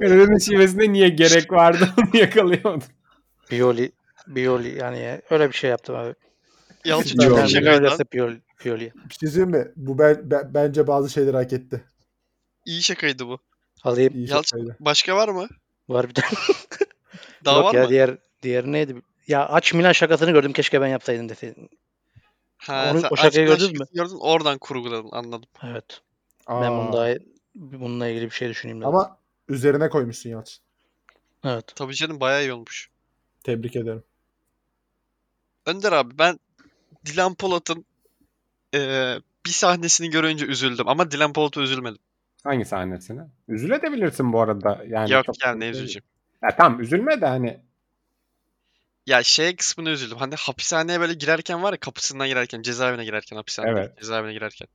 Speaker 3: Ölümün şivesinde niye gerek vardı onu yakalıyordu.
Speaker 5: Pioli, Pioli yani ya. öyle bir şey yaptım abi.
Speaker 2: Yalçın
Speaker 3: Yok.
Speaker 2: çok
Speaker 3: Pioli.
Speaker 5: Yani
Speaker 2: teşekkür ederim.
Speaker 5: öyleyse Pioli, Pioli.
Speaker 4: Bir şey söyleyeyim mi? Bu ben, ben- bence bazı şeyleri hak etti.
Speaker 2: İyi şakaydı bu.
Speaker 5: Alayım.
Speaker 4: İyi
Speaker 2: Yalçın-
Speaker 4: şakaydı.
Speaker 2: Başka var mı?
Speaker 5: Var bir tane.
Speaker 2: Daha
Speaker 5: Yok
Speaker 2: var
Speaker 5: ya
Speaker 2: mı?
Speaker 5: diğer diğer neydi? Ya aç Milan şakasını gördüm keşke ben yapsaydım deseydin.
Speaker 2: Ha,
Speaker 5: Onu-
Speaker 2: sen
Speaker 5: o
Speaker 2: Einstein
Speaker 5: şakayı gördün mü?
Speaker 2: şakasını Gördün, oradan kurguladın anladım.
Speaker 5: Evet. Ben
Speaker 4: Aa,
Speaker 5: bunu daha bununla ilgili bir şey düşüneyim dedim.
Speaker 4: Ama üzerine koymuşsun Yalçın.
Speaker 5: evet.
Speaker 2: Tabii canım bayağı iyi olmuş.
Speaker 4: Tebrik ederim.
Speaker 2: Önder abi ben Dilan Polat'ın eee, bir sahnesini görünce üzüldüm ama Dilan Polat'a üzülmedim.
Speaker 3: Hangi sahnesine? Üzülebilirsin bu arada. Yani
Speaker 2: Yok
Speaker 3: çok...
Speaker 2: yani ne üzüleceğim.
Speaker 3: Ya tamam üzülme de hani
Speaker 2: Ya şey kısmını üzüldüm. Hani hapishaneye böyle girerken var ya kapısından girerken, cezaevine girerken, hapishaneye
Speaker 3: Evet.
Speaker 2: cezaevine girerken.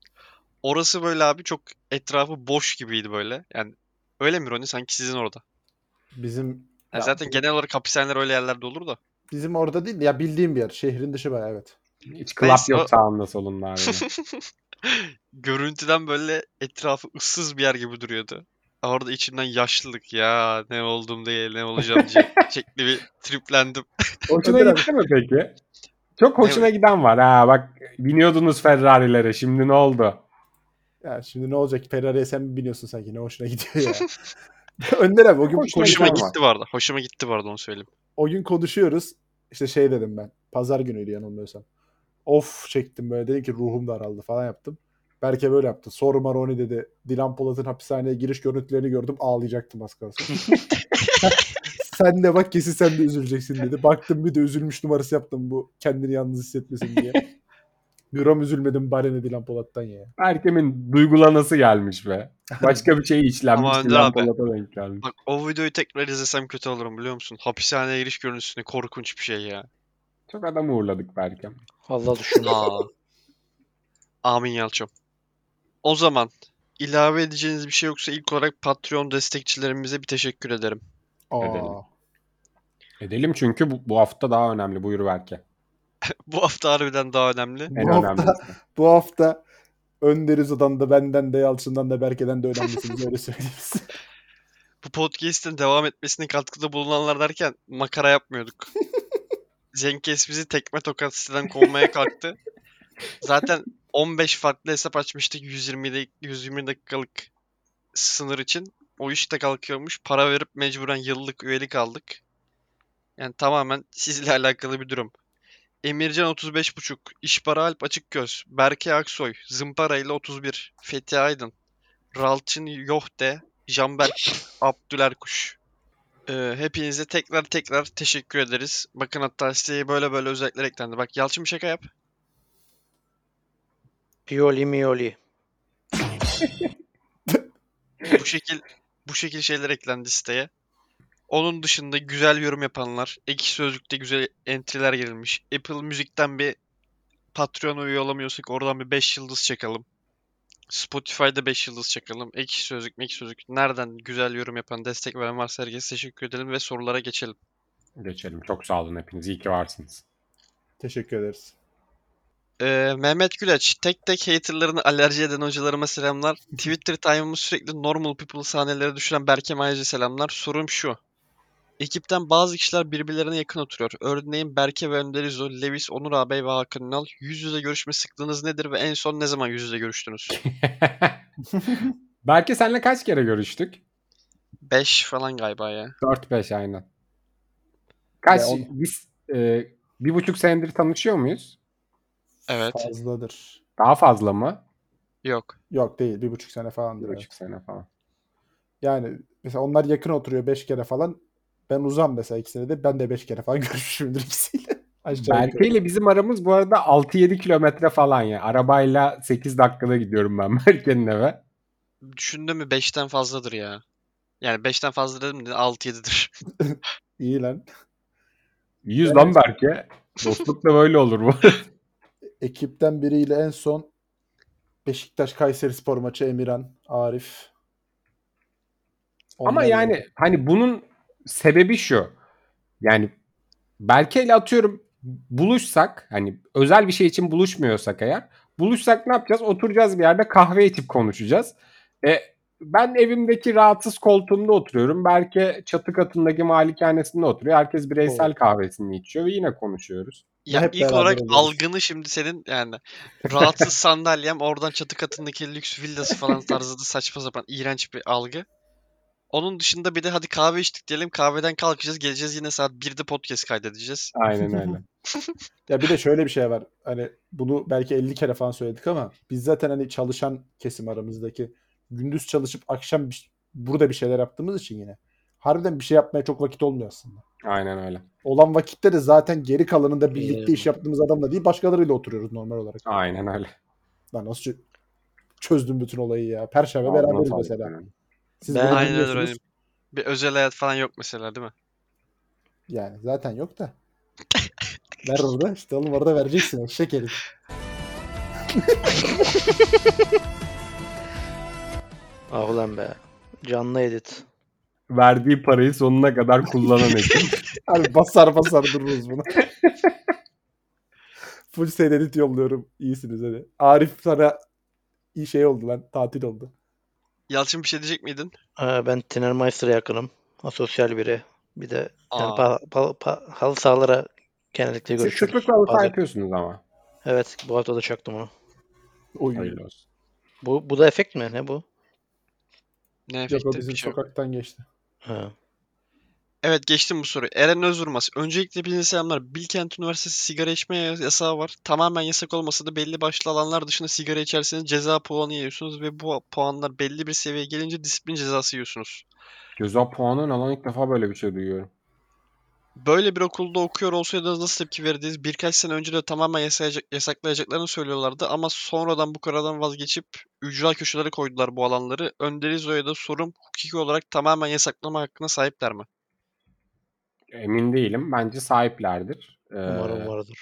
Speaker 2: Orası böyle abi çok etrafı boş gibiydi böyle. Yani öyle mi Roni? Sanki sizin orada.
Speaker 4: Bizim
Speaker 2: Yani
Speaker 4: Ya,
Speaker 2: zaten genel olarak hapishaneler öyle yerlerde olur da.
Speaker 4: bizim orada değil de ya bildiğim bir yer. Şehrin dışı bayağı evet.
Speaker 3: hiç klap
Speaker 2: Neyse, o-
Speaker 3: yok sağında solunda. harbiden.
Speaker 2: Görüntüden böyle etrafı ıssız bir yer gibi duruyordu. Orada içimden yaşlılık ya ne oldum diye ne olacağım diye şekli bir triplendim.
Speaker 3: Hoşuna
Speaker 4: Önder
Speaker 3: gitti mi peki? Çok hoşuna giden var. Ha bak biniyordunuz Ferrari'lere şimdi ne oldu?
Speaker 4: Ya şimdi ne olacak? Ferrari'ye sen mi biniyorsun sanki? Ne hoşuna gidiyor ya. Önder abi o gün,
Speaker 3: Hoşuma
Speaker 2: Hoşuma
Speaker 4: konuşuyoruz.
Speaker 3: gitti.
Speaker 2: gitti bu arada. Hoşuma gitti bu arada onu söyleyeyim.
Speaker 4: o gün konuşuyoruz. İşte şey dedim ben. Pazar günüydü yanılmıyorsam. Of çektim böyle. Dedim ki ruhum daraldı falan yaptım. Berke böyle yaptı. Soru Maroni dedi. Dilan Polat'ın hapishaneye giriş görüntülerini gördüm. Ağlayacaktım az kalsın. sen de bak kesin sen de üzüleceksin dedi. Baktım bir de üzülmüş numarası yaptım bu. Kendini yalnız hissetmesin diye. Gram üzülmedim bari ne Dilan Polat'tan ya.
Speaker 3: Erkem'in duygulanası gelmiş be. Başka bir şey
Speaker 2: Ama
Speaker 3: içlenmiş.
Speaker 2: Önder
Speaker 3: Dilan
Speaker 2: abi-
Speaker 3: Polat'a denk gelmiş.
Speaker 2: Bak o videoyu tekrar izlesem kötü olurum biliyor musun? Hapishaneye giriş görüntüsü ne korkunç bir şey ya.
Speaker 3: Çok adam uğurladık Berkem.
Speaker 5: Allah düşün.
Speaker 2: Aa. Amin Yalçın. O zaman ilave edeceğiniz bir şey yoksa ilk olarak Patreon destekçilerimize bir teşekkür ederim.
Speaker 3: Edelim.
Speaker 4: Aa,
Speaker 3: Edelim çünkü bu, bu hafta daha önemli. Buyur Berke.
Speaker 2: Bu hafta harbiden daha önemli.
Speaker 3: En
Speaker 4: Bu hafta-
Speaker 3: önemlisi.
Speaker 4: bu hafta Önder Uza'dan da benden de Yalçın'dan da Berke'den de önemlisiniz öyle söyleyeyim size.
Speaker 2: Bu podcast'in devam etmesine katkıda bulunanlar derken makara yapmıyorduk. Cenkes bizi tekme tokat siteden kovmaya kalktı. Zaten 15 farklı hesap açmıştık 120, dak- 120 dakikalık sınır için. O iş de kalkıyormuş. Para verip mecburen yıllık üyelik aldık. Yani tamamen sizle alakalı bir durum. Emircan 35.5, İşbara Alp Açıkgöz, Berke Aksoy, Zımpara ile 31, Fethi Aydın, Ralçın Yohte, Canberk Abdüler Kuş. Ee, hepinize tekrar tekrar teşekkür ederiz. Bakın hatta siteye böyle böyle özellikler eklendi. Bak Yalçın bir şaka yap.
Speaker 5: Pioli mioli.
Speaker 2: Bu şekil bu şekil şeyler eklendi siteye. Onun dışında güzel yorum yapanlar, ekşi sözlükte güzel entry'ler girilmiş. Apple Müzik'ten bir Patreon'a üye olamıyorsak oradan bir 5 yıldız çakalım. Spotify'da 5 yıldız çakalım. Ekşi sözlük, ekşi sözlük. Nereden güzel yorum yapan, destek veren varsa herkese teşekkür edelim ve sorulara geçelim.
Speaker 3: Geçelim. Çok sağ olun hepiniz. İyi ki varsınız.
Speaker 4: Teşekkür ederiz.
Speaker 2: Ee, Mehmet Güleç, tek tek haterlarını alerji eden hocalarıma selamlar. Twitter time'ımı sürekli normal people sahnelere düşüren Berke Mayacı selamlar. Sorum şu. Ekipten bazı kişiler birbirlerine yakın oturuyor. Örneğin Berke ve Önder İzo, Levis, Onur ağabey ve Hakan Ünal. Yüz yüze görüşme sıklığınız nedir ve en son ne zaman yüz yüze görüştünüz?
Speaker 3: Berke senle kaç kere görüştük?
Speaker 2: 5 falan galiba ya.
Speaker 3: 4-5 aynen. Kaç?
Speaker 4: Ya on-
Speaker 3: Biz e, bir buçuk senedir tanışıyor muyuz?
Speaker 2: Evet.
Speaker 4: Fazladır.
Speaker 3: Daha fazla mı?
Speaker 2: Yok.
Speaker 4: Yok değil. Bir buçuk sene falandır.
Speaker 3: Bir
Speaker 4: evet.
Speaker 3: buçuk sene falan.
Speaker 4: Yani mesela onlar yakın oturuyor beş kere falan. Ben uzam mesela ikisine de. Ben de beş kere falan görüşmüşümdür ikisiyle. Aşağı
Speaker 3: Berke
Speaker 4: yukarı.
Speaker 3: ile bizim aramız bu arada 6-7 kilometre falan ya. Arabayla 8 dakikada gidiyorum ben Berke'nin eve.
Speaker 2: Düşündün mü 5'ten fazladır ya. Yani 5'ten fazla dedim de 6-7'dir.
Speaker 4: İyi lan.
Speaker 3: Yüz
Speaker 4: Evet.
Speaker 3: lan Berke. Dostluk da böyle olur bu.
Speaker 4: Ekipten biriyle en son Beşiktaş Kayseri spor maçı Emirhan, Arif.
Speaker 3: Ama
Speaker 4: Onlarla-
Speaker 3: yani hani bunun sebebi şu. Yani Berke ile atıyorum buluşsak hani özel bir şey için buluşmuyorsak eğer buluşsak ne yapacağız? Oturacağız bir yerde kahve içip konuşacağız. E, ben evimdeki rahatsız koltuğumda oturuyorum. Berke çatı katındaki malikanesinde oturuyor. Herkes bireysel
Speaker 4: Oo.
Speaker 3: kahvesini içiyor ve yine konuşuyoruz.
Speaker 2: Ya
Speaker 4: Hep
Speaker 2: ilk
Speaker 4: beraber
Speaker 2: olarak
Speaker 4: oluyoruz.
Speaker 2: algını şimdi senin yani rahatsız sandalyem oradan çatı katındaki lüks villası falan tarzı da saçma sapan iğrenç bir algı. Onun dışında bir de hadi kahve içtik diyelim kahveden kalkacağız geleceğiz yine saat 1'de podcast kaydedeceğiz.
Speaker 3: Aynen öyle.
Speaker 4: Ya bir de şöyle bir şey var. Hani bunu belki 50 kere falan söyledik ama biz zaten hani çalışan kesim aramızdaki gündüz çalışıp akşam bir- burada bir şeyler yaptığımız için yine. Harbiden bir şey yapmaya çok vakit olmuyor aslında.
Speaker 3: Aynen öyle.
Speaker 4: olan vakitte de zaten geri
Speaker 2: Ee,
Speaker 4: kalanında birlikte
Speaker 2: Eyvallah.
Speaker 4: iş yaptığımız adamla değil başkalarıyla oturuyoruz normal olarak.
Speaker 3: Aynen öyle.
Speaker 4: Lan nasıl çö- çözdüm bütün olayı ya. Perşembe
Speaker 3: Ağzına
Speaker 4: beraberiz
Speaker 3: sağlık
Speaker 4: mesela.
Speaker 3: yani.
Speaker 4: Siz
Speaker 5: Ben-
Speaker 4: beni
Speaker 2: Aynen öyle
Speaker 4: dinliyorsunuz.
Speaker 2: benim. Bir özel hayat falan yok mesela değil mi?
Speaker 4: Yani zaten yok da. Ver orada işte oğlum orada vereceksin şekeri.
Speaker 5: Ah ulan be. Canlı edit.
Speaker 3: Verdiği parayı sonuna kadar kullanan ekip.
Speaker 4: Abi basar basar dururuz bunu. Full seyredit yolluyorum. İyisiniz hadi. Arif sana iyi şey oldu lan. Tatil oldu.
Speaker 2: Yalçın bir şey diyecek miydin?
Speaker 5: Ee, ben Tinermeister'a yakınım. Asosyal biri. Bir de yani
Speaker 2: Aa.
Speaker 5: pa- pa- pa- halı sahalara genellikle
Speaker 3: Siz
Speaker 5: görüşüyoruz.
Speaker 3: şutlıkla alıp
Speaker 5: Bazen-
Speaker 3: yapıyorsunuz ama.
Speaker 5: Evet bu hafta da çaktım onu.
Speaker 4: Oy.
Speaker 3: Hayırlı olsun.
Speaker 5: Bu, bu da efekt mi? Ne bu?
Speaker 2: Ne
Speaker 4: Yok o
Speaker 2: efekti?
Speaker 4: bizim
Speaker 2: Bir şey yok.
Speaker 4: sokaktan geçti.
Speaker 5: Ha.
Speaker 2: Evet geçtim bu soruyu. Eren Özvurmaz. Öncelikle hepinize selamlar. Bilkent Üniversitesi sigara içme ya- yasağı var. Tamamen yasak olmasa da belli başlı alanlar dışında sigara içerseniz ceza puanı yiyorsunuz ve bu puanlar belli bir seviyeye gelince disiplin cezası yiyorsunuz.
Speaker 3: Ceza puanı ne lan ilk defa böyle bir şey duyuyorum.
Speaker 2: Böyle bir okulda okuyor olsaydınız nasıl tepki verirdiniz? Birkaç sene önce de tamamen yasayacak, yasaklayacaklarını söylüyorlardı ama sonradan bu karardan vazgeçip ücra köşelere koydular bu alanları. Önder İzo'ya da sorum hukuki olarak tamamen yasaklama hakkına sahipler mi?
Speaker 3: Emin değilim. Bence sahiplerdir. Ee,
Speaker 5: Umarım vardır.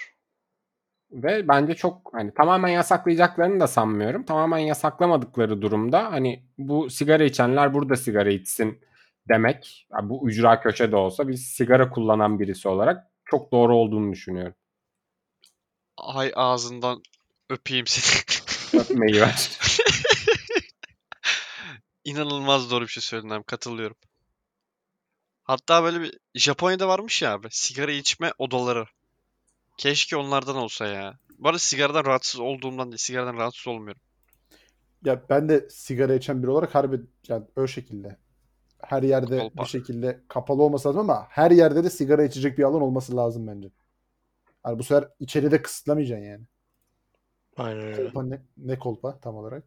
Speaker 3: Ve bence çok hani tamamen yasaklayacaklarını da sanmıyorum. Tamamen yasaklamadıkları durumda hani bu sigara içenler burada sigara içsin demek. ya bu ücra köşede olsa bir sigara kullanan birisi olarak çok doğru olduğunu düşünüyorum.
Speaker 2: Ay ağzından öpeyim seni.
Speaker 3: Öpmeyi ver.
Speaker 2: İnanılmaz doğru bir şey söyledin abi. Katılıyorum. Hatta böyle bir Japonya'da varmış ya abi. Sigara içme odaları. Keşke onlardan olsa ya. Bu arada sigaradan rahatsız olduğumdan değil. Sigaradan rahatsız olmuyorum.
Speaker 4: Ya ben de sigara içen biri olarak harbi yani o şekilde. Her yerde
Speaker 2: Kapalı
Speaker 4: bir
Speaker 2: park.
Speaker 4: şekilde kapalı olması lazım ama her yerde de sigara içecek bir alan olması lazım bence. Yani bu sefer içeride kısıtlamayacaksın yani.
Speaker 5: Aynen öyle.
Speaker 4: Kolpa ne, ne kolpa tam olarak?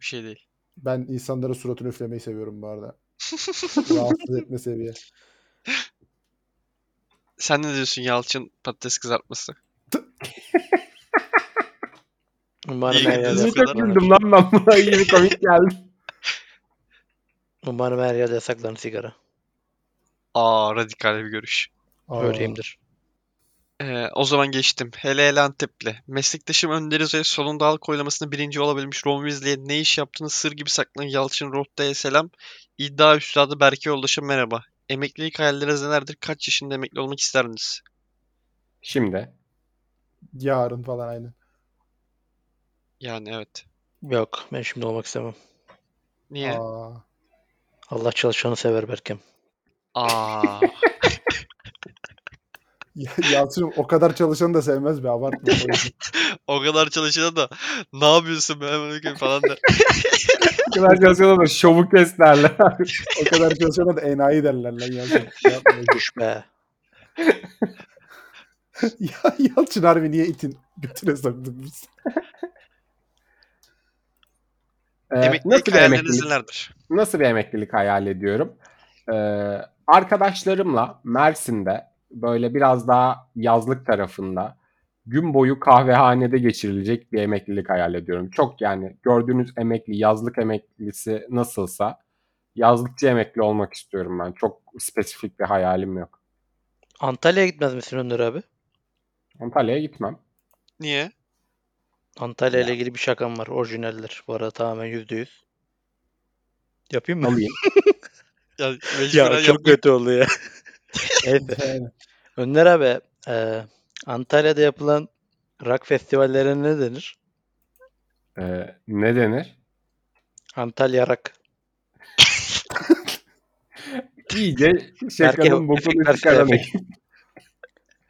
Speaker 2: Bir şey değil.
Speaker 4: Ben insanlara suratını üflemeyi seviyorum bu arada. Rahatsız etme seviye.
Speaker 2: Sen ne diyorsun Yalçın patates kızartması?
Speaker 5: Umarım
Speaker 2: İyi
Speaker 5: her yerde
Speaker 2: gidiyoruz.
Speaker 3: Niye
Speaker 2: kadar
Speaker 5: yasaklanır.
Speaker 3: güldüm lan ben buna yeni komik geldi.
Speaker 5: Umarım her yerde yasaklanır sigara.
Speaker 2: Aa radikal bir görüş.
Speaker 4: Aa,
Speaker 5: Öyleyimdir.
Speaker 2: Ee, o zaman geçtim. Hele hele Antepli. Meslektaşım Önder İzo'ya sonunda halk oylamasında birinci olabilmiş Ron Weasley'e ne iş yaptığını sır gibi saklayan Yalçın Rohta'ya selam. İddia üstadı Berke Yoldaş'a merhaba. Emeklilik hayalleriniz nelerdir? Kaç yaşında emekli olmak isterdiniz?
Speaker 3: Şimdi
Speaker 4: Yarın falan aynı.
Speaker 2: Yani evet.
Speaker 5: Yok ben şimdi olmak istemem.
Speaker 2: Niye?
Speaker 4: Aa,
Speaker 5: Allah çalışanı sever Berkem.
Speaker 2: Aa.
Speaker 4: Ya- Yalçın'ım o kadar çalışanı da sevmez be abartma.
Speaker 2: o kadar çalışana da ne yapıyorsun be hemen öyle falan der.
Speaker 3: bu kadar çalışıyorlar da şovu kes derler.
Speaker 4: o kadar çalışana da enayi derler lan Yalçın. Yapma Ece.
Speaker 5: Düş be.
Speaker 4: ya Yalçın harbi niye itin götüne soktuk biz?
Speaker 3: Ee,
Speaker 2: Emeklilik
Speaker 3: nasıl bir
Speaker 2: hayalleriniz
Speaker 3: emeklilik?
Speaker 2: nelerdir?
Speaker 3: nasıl bir emeklilik hayal ediyorum? Ee, arkadaşlarımla Mersin'de böyle biraz daha yazlık tarafında gün boyu kahvehanede geçirilecek bir emeklilik hayal ediyorum. Çok yani gördüğünüz emekli, yazlık emeklisi nasılsa yazlıkçı emekli olmak istiyorum ben. Çok spesifik bir hayalim yok.
Speaker 5: Antalya'ya gitmez misin Önder abi?
Speaker 3: Antalya'ya gitmem.
Speaker 2: Niye?
Speaker 5: Antalya ile ilgili bir şakam var. Orijinaller. Bu arada tamamen yüzde yüz. Yapayım mı?
Speaker 3: Alayım.
Speaker 2: Ya, mecburen
Speaker 5: ya
Speaker 2: yap-
Speaker 5: çok kötü oldu ya. Neyse.
Speaker 4: Yani
Speaker 5: Önder abi, e, Antalya'da yapılan rock festivallerine ne denir?
Speaker 3: Ee, ne denir?
Speaker 5: Antalya Rock.
Speaker 3: İyice şakanın bokunu
Speaker 5: efektler
Speaker 3: çıkaran
Speaker 5: şey
Speaker 3: ekip.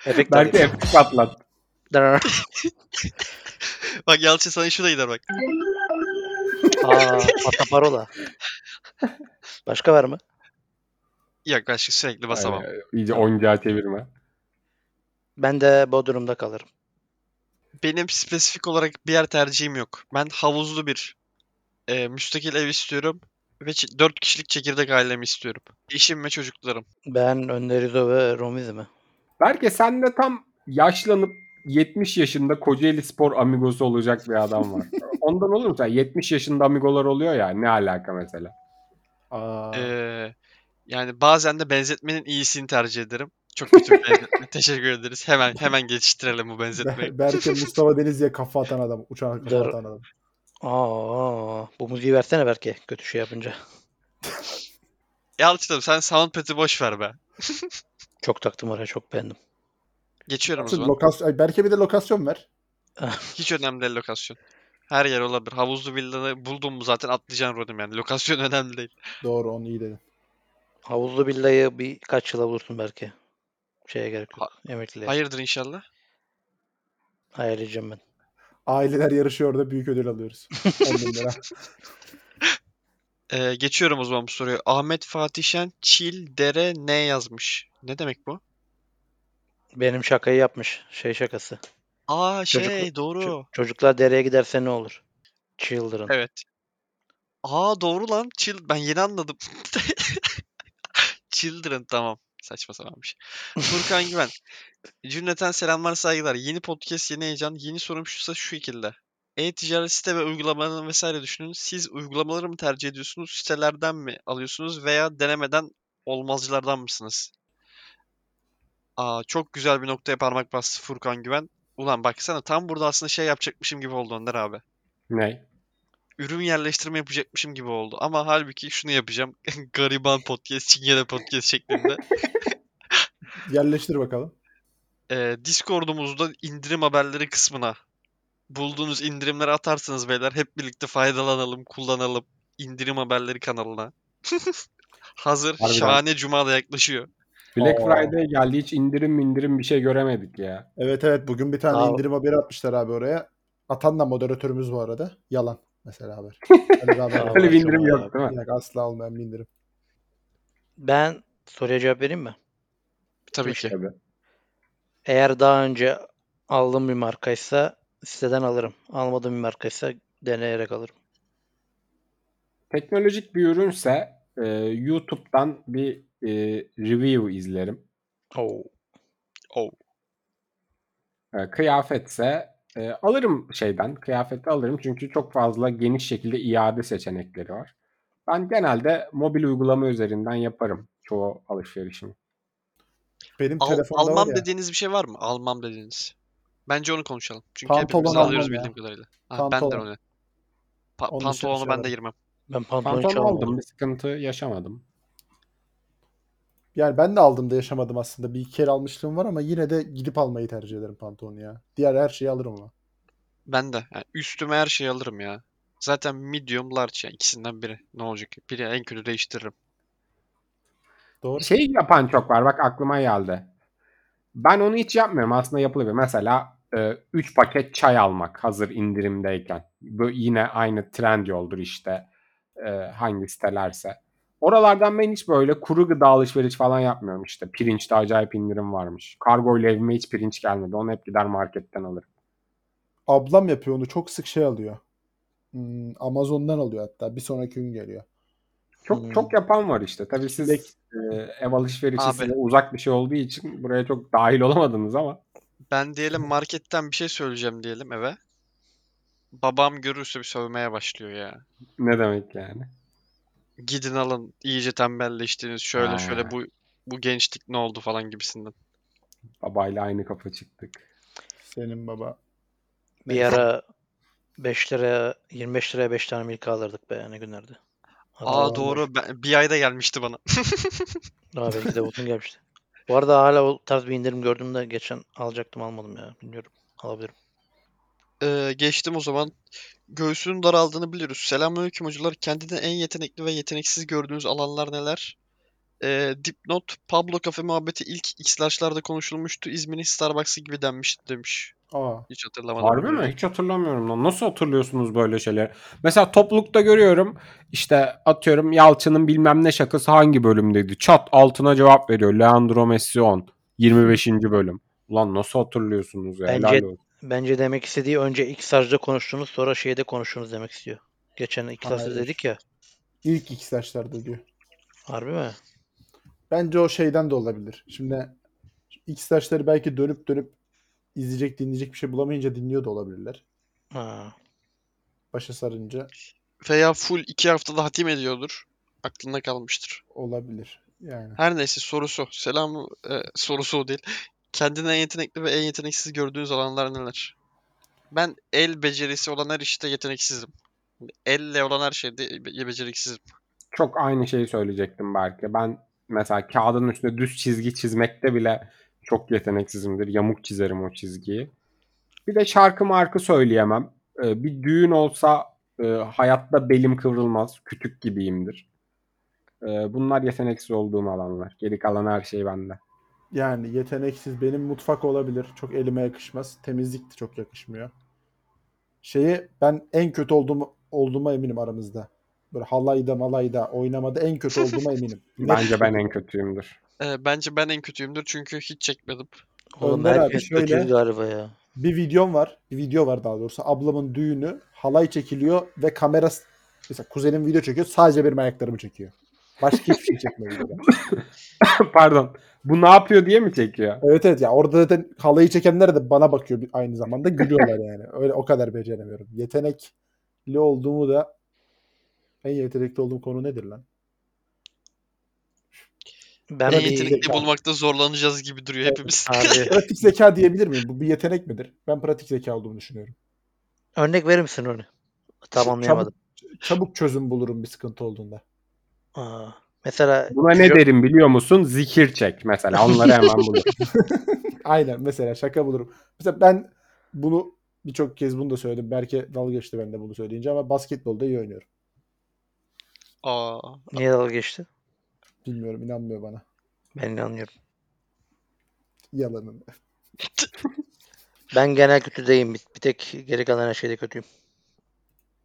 Speaker 5: Efektler
Speaker 3: Belki efekt patlat.
Speaker 5: yap-
Speaker 2: Bak Yalçın sana şu da gider bak.
Speaker 5: Aa, Ataparola. Başka var mı?
Speaker 2: Yaklaşık sürekli basamam.
Speaker 3: Yani, iyice oyuncağa çevirme.
Speaker 5: Ben de Bodrum'da kalırım.
Speaker 2: Benim spesifik olarak bir yer tercihim yok. Ben havuzlu bir e, müstakil ev istiyorum ve 4 kişilik çekirdek ailemi istiyorum. Eşim ve çocuklarım.
Speaker 5: Ben Önder İzo ve Romizmi.
Speaker 3: Belki sen de tam yaşlanıp 70 yaşında Kocaeli Spor amigosu olacak bir adam var. Ondan olur mu? sen? 70 yaşında amigolar oluyor ya ne alaka mesela?
Speaker 4: aa,
Speaker 2: Ee, yani bazen de benzetmenin iyisini tercih ederim. Çok kötü bir benzetme. Teşekkür ederiz. Hemen hemen geçiştirelim bu benzetmeyi.
Speaker 4: Ber- Berke Mustafa Denizli'ye kafa atan adam. Uçağa kafa
Speaker 5: Dur.
Speaker 4: atan adam.
Speaker 5: Aa, bu müziği versene belki kötü şey yapınca.
Speaker 2: Yalçın'ım sen Soundpad'i boş ver be.
Speaker 5: Çok taktım oraya çok beğendim.
Speaker 2: Geçiyorum o
Speaker 4: Şimdi
Speaker 2: zaman.
Speaker 4: lokasyon, Ay, Berke bir de lokasyon ver.
Speaker 2: Hiç önemli değil lokasyon. Her yer olabilir. Havuzlu villanı buldum mu zaten atlayacaksın Rodim yani. Lokasyon önemli değil.
Speaker 4: Doğru onu iyi dedin.
Speaker 5: Havuzlu villayı birkaç yıla bulursun belki. Şeye gerek yok. Emekliye.
Speaker 2: Hayırdır inşallah.
Speaker 5: Ayarlayacağım ben.
Speaker 4: Aileler yarışıyor orada büyük ödül alıyoruz. 10 bin lira.
Speaker 2: Ee, geçiyorum o zaman bu soruyu. Ahmet Fatihşen Çil Dere ne yazmış? Ne demek bu?
Speaker 5: Benim şakayı yapmış. Şey şakası.
Speaker 2: Aa şey
Speaker 5: Çocuk-
Speaker 2: doğru.
Speaker 5: Ço- çocuklar dereye giderse ne olur? Children.
Speaker 2: Evet. Aa doğru lan. Chill. Ben yeni anladım. Children tamam. Saçma sapan bir şey. Furkan Güven. Cümleten selamlar saygılar. Yeni podcast yeni heyecan. Yeni sorum şusa şu şekilde. E-ticaret site ve uygulamalarını vesaire düşünün. Siz uygulamaları mı tercih ediyorsunuz? Sitelerden mi alıyorsunuz? Veya denemeden olmazcılardan mısınız? Aa, çok güzel bir noktaya parmak bastı Furkan Güven. Ulan baksana tam burada aslında şey yapacakmışım gibi oldu Önder abi
Speaker 3: Ne?
Speaker 2: ürün yerleştirme yapacakmışım gibi oldu. Ama halbuki şunu yapacağım. Gariban podcast, çingene podcast şeklinde.
Speaker 4: Yerleştir bakalım.
Speaker 2: Ee, Discord'umuzda indirim haberleri kısmına bulduğunuz indirimleri atarsanız beyler hep birlikte faydalanalım, kullanalım. İndirim haberleri kanalına. Hazır
Speaker 3: Harbiden.
Speaker 2: şahane cuma da yaklaşıyor.
Speaker 3: Black
Speaker 4: Oo.
Speaker 3: Friday geldi hiç indirim indirim bir şey göremedik ya.
Speaker 4: Evet evet bugün bir tane
Speaker 5: Aa.
Speaker 4: indirim haberi atmışlar abi oraya. Atan da moderatörümüz bu arada. Yalan mesela haber. Hani Öyle bir haber
Speaker 5: Aa,
Speaker 4: var.
Speaker 3: Öyle bir
Speaker 5: çok
Speaker 3: indirim
Speaker 5: iyi
Speaker 3: yok değil mi?
Speaker 4: Yok, asla olmayan bir indirim.
Speaker 5: Ben soruya cevap vereyim mi?
Speaker 2: Tabii ki.
Speaker 3: Tabii.
Speaker 5: Eğer daha önce aldığım bir markaysa siteden alırım. Almadığım bir markaysa deneyerek alırım.
Speaker 3: Teknolojik bir ürünse e, YouTube'dan bir e, review izlerim.
Speaker 5: Oo.
Speaker 3: E, kıyafetse e, alırım şeyden. Kıyafeti alırım çünkü çok fazla geniş şekilde iade seçenekleri var. Ben genelde mobil uygulama üzerinden yaparım çoğu alışverişimi.
Speaker 4: Benim
Speaker 2: Al-
Speaker 4: telefonda
Speaker 2: almam
Speaker 4: var ya.
Speaker 2: dediğiniz bir şey var mı? Almam dediğiniz. Bence onu konuşalım. Çünkü
Speaker 4: Pantolon
Speaker 2: hepimiz
Speaker 4: almam
Speaker 2: alıyoruz
Speaker 4: ya.
Speaker 2: bildiğim kadarıyla. Ha, ben de
Speaker 4: Pantolon.
Speaker 2: onu. Pa-
Speaker 4: Onun dışında bir
Speaker 2: pantolonu
Speaker 4: şey
Speaker 2: ben de
Speaker 4: alırım.
Speaker 2: girmem.
Speaker 5: Ben pantolon hiç
Speaker 3: Pantolon
Speaker 5: almadım.
Speaker 3: aldım bir sıkıntı yaşamadım.
Speaker 4: Yani ben de aldığımda yaşamadım aslında. Bir iki kere almışlığım var ama yine de gidip almayı tercih ederim pantolonu ya. Diğer her şeyi alırım ama.
Speaker 2: Ben de. Yani üstüme her şeyi alırım ya. Zaten medium large yani ikisinden biri. Ne olacak? Biri en kötü değiştiririm.
Speaker 4: Doğru.
Speaker 3: Şey yapan çok var bak aklıma geldi. Ben onu hiç yapmıyorum aslında yapılabilir. Mesela 3 paket çay almak hazır indirimdeyken. Bu yine aynı trend yoldur işte e, hangi sitelerse. Oralardan ben hiç böyle kuru gıda alışveriş falan yapmıyorum işte. Pirinçte acayip indirim varmış. Kargo ile evime hiç pirinç gelmedi. Onu hep gider marketten alırım.
Speaker 4: Ablam yapıyor onu. Çok sık şey alıyor. Hmm, Amazon'dan alıyor hatta. Bir sonraki gün geliyor.
Speaker 3: Çok
Speaker 5: Hmm.
Speaker 3: çok yapan var işte. Tabii siz
Speaker 4: Bek-
Speaker 3: e, ev alışverişi
Speaker 2: Abi.
Speaker 3: size uzak bir şey olduğu için buraya çok dahil olamadınız ama.
Speaker 2: Ben diyelim marketten bir şey söyleyeceğim diyelim eve. Babam görürse bir sövmeye başlıyor ya.
Speaker 3: Ne demek yani?
Speaker 2: Gidin alın iyice tembelleştiniz. Şöyle
Speaker 3: Ha.
Speaker 2: şöyle bu bu gençlik ne oldu falan gibisinden.
Speaker 3: Babayla aynı kafa çıktık.
Speaker 4: Senin baba.
Speaker 5: Bir ara 5 liraya 25 liraya 5 tane milka alırdık be ne günlerdi.
Speaker 2: Aa
Speaker 5: Hatırlamıyorum.
Speaker 2: doğru. Ben, bir ayda gelmişti bana.
Speaker 5: Daha belki de bugün gelmişti. Bu arada hala o tarz bir indirim gördüm de geçen alacaktım almadım ya. Bilmiyorum. Alabilirim.
Speaker 2: Ee, geçtim o zaman. Göğsünün daraldığını biliyoruz. Selamünaleyküm hocalar. Kendini en yetenekli ve yeteneksiz gördüğünüz alanlar neler? Ee, dipnot Pablo Cafe muhabbeti ilk X'larda konuşulmuştu. İzmir'in Starbucks'ı gibi denmişti demiş.
Speaker 4: Aa.
Speaker 2: Hiç hatırlamadım.
Speaker 3: Harbi mi? Hiç hatırlamıyorum lan. Nasıl hatırlıyorsunuz böyle şeyler? Mesela toplulukta görüyorum işte atıyorum Yalçın'ın bilmem ne şakası hangi bölümdeydi? Çat altına cevap veriyor. Leandro Messi 10. 25. bölüm. Ulan nasıl hatırlıyorsunuz ya?
Speaker 5: Bence-
Speaker 3: Helal olsun.
Speaker 5: Bence demek istediği önce ilk sarjda konuştunuz sonra şeyde konuştunuz demek istiyor. Geçen iki sarjda
Speaker 4: Hayır.
Speaker 5: dedik ya.
Speaker 4: İlk iki saçlarda diyor.
Speaker 5: Harbi mi?
Speaker 4: Bence o şeyden de olabilir. Şimdi X-Dash'ları belki dönüp dönüp izleyecek dinleyecek bir şey bulamayınca dinliyor da olabilirler.
Speaker 5: Ha.
Speaker 4: Başa sarınca
Speaker 2: Veya full iki haftada hatim ediyordur. Aklında kalmıştır.
Speaker 4: olabilir. Yani
Speaker 2: Her neyse sorusu. Selam e, sorusu o değil. Kendini en yetenekli ve en yeteneksiz gördüğünüz alanlar neler? Ben el becerisi olan her işte yeteneksizim. Elle olan her şeyde be- beceriksizim.
Speaker 3: Çok aynı şeyi söyleyecektim belki. Ben mesela kağıdın üstüne düz çizgi çizmekte bile çok yeteneksizimdir. Yamuk çizerim o çizgiyi. Bir de şarkı markı söyleyemem. Ee, bir düğün olsa e, hayatta belim kıvrılmaz. Kütük gibiyimdir. Ee, bunlar yeteneksiz olduğum alanlar. Geri kalan her şey bende.
Speaker 4: yani yeteneksiz benim mutfak olabilir. Çok elime yakışmaz. Temizlik de çok yakışmıyor. Şeyi ben en kötü olduğum olduğuma eminim aramızda. Böyle halayda malayda oynamada en kötü olduğuma eminim.
Speaker 3: Bence ben en kötüyümdür.
Speaker 2: Ee, bence ben en kötüyümdür çünkü hiç çekmedim.
Speaker 5: Oğlum
Speaker 4: Önder abi
Speaker 5: herkes
Speaker 4: şöyle-
Speaker 5: kötü galiba ya.
Speaker 4: Bir videom var. Bir video var daha doğrusu. Ablamın düğünü. Halay çekiliyor ve kamera mesela kuzenim video çekiyor. Sadece benim ayaklarımı çekiyor. Başka hiçbir şey çekmiyor videoda.
Speaker 3: Pardon. Bu ne yapıyor diye mi çekiyor?
Speaker 4: Evet evet ya orada zaten halayı çekenler de bana bakıyor bir- aynı zamanda gülüyorlar yani. Öyle o kadar beceremiyorum. Yetenekli olduğumu da en yetenekli olduğum konu nedir lan?
Speaker 5: Ben
Speaker 2: En
Speaker 4: Tabii.
Speaker 2: yetenekli
Speaker 4: Zeka.
Speaker 2: bulmakta zorlanacağız gibi duruyor
Speaker 4: Evet,
Speaker 2: hepimiz.
Speaker 5: abi
Speaker 4: Pratik zeka diyebilir miyim? Bu bir yetenek midir? Ben pratik zeka olduğumu düşünüyorum.
Speaker 5: örnek verir misin onu? Tamamlayamadım.
Speaker 4: Çabuk çözüm bulurum bir sıkıntı olduğunda.
Speaker 5: Aa, mesela
Speaker 3: Buna ne derim biliyor musun? Zikir çek mesela. Onları hemen bulur.
Speaker 4: Aynen mesela şaka bulurum. Mesela ben bunu birçok kez bunu da söyledim. Belki dalga geçti ben de bunu söyleyince ama basketbolda iyi oynuyorum.
Speaker 2: Aa,
Speaker 5: niye dalga geçti?
Speaker 4: Bilmiyorum inanmıyor bana.
Speaker 5: Ben inanıyorum.
Speaker 4: Yalanım.
Speaker 5: Ben genel kötü değilim. Bir, bir tek geri kalan her şeyde kötüyüm.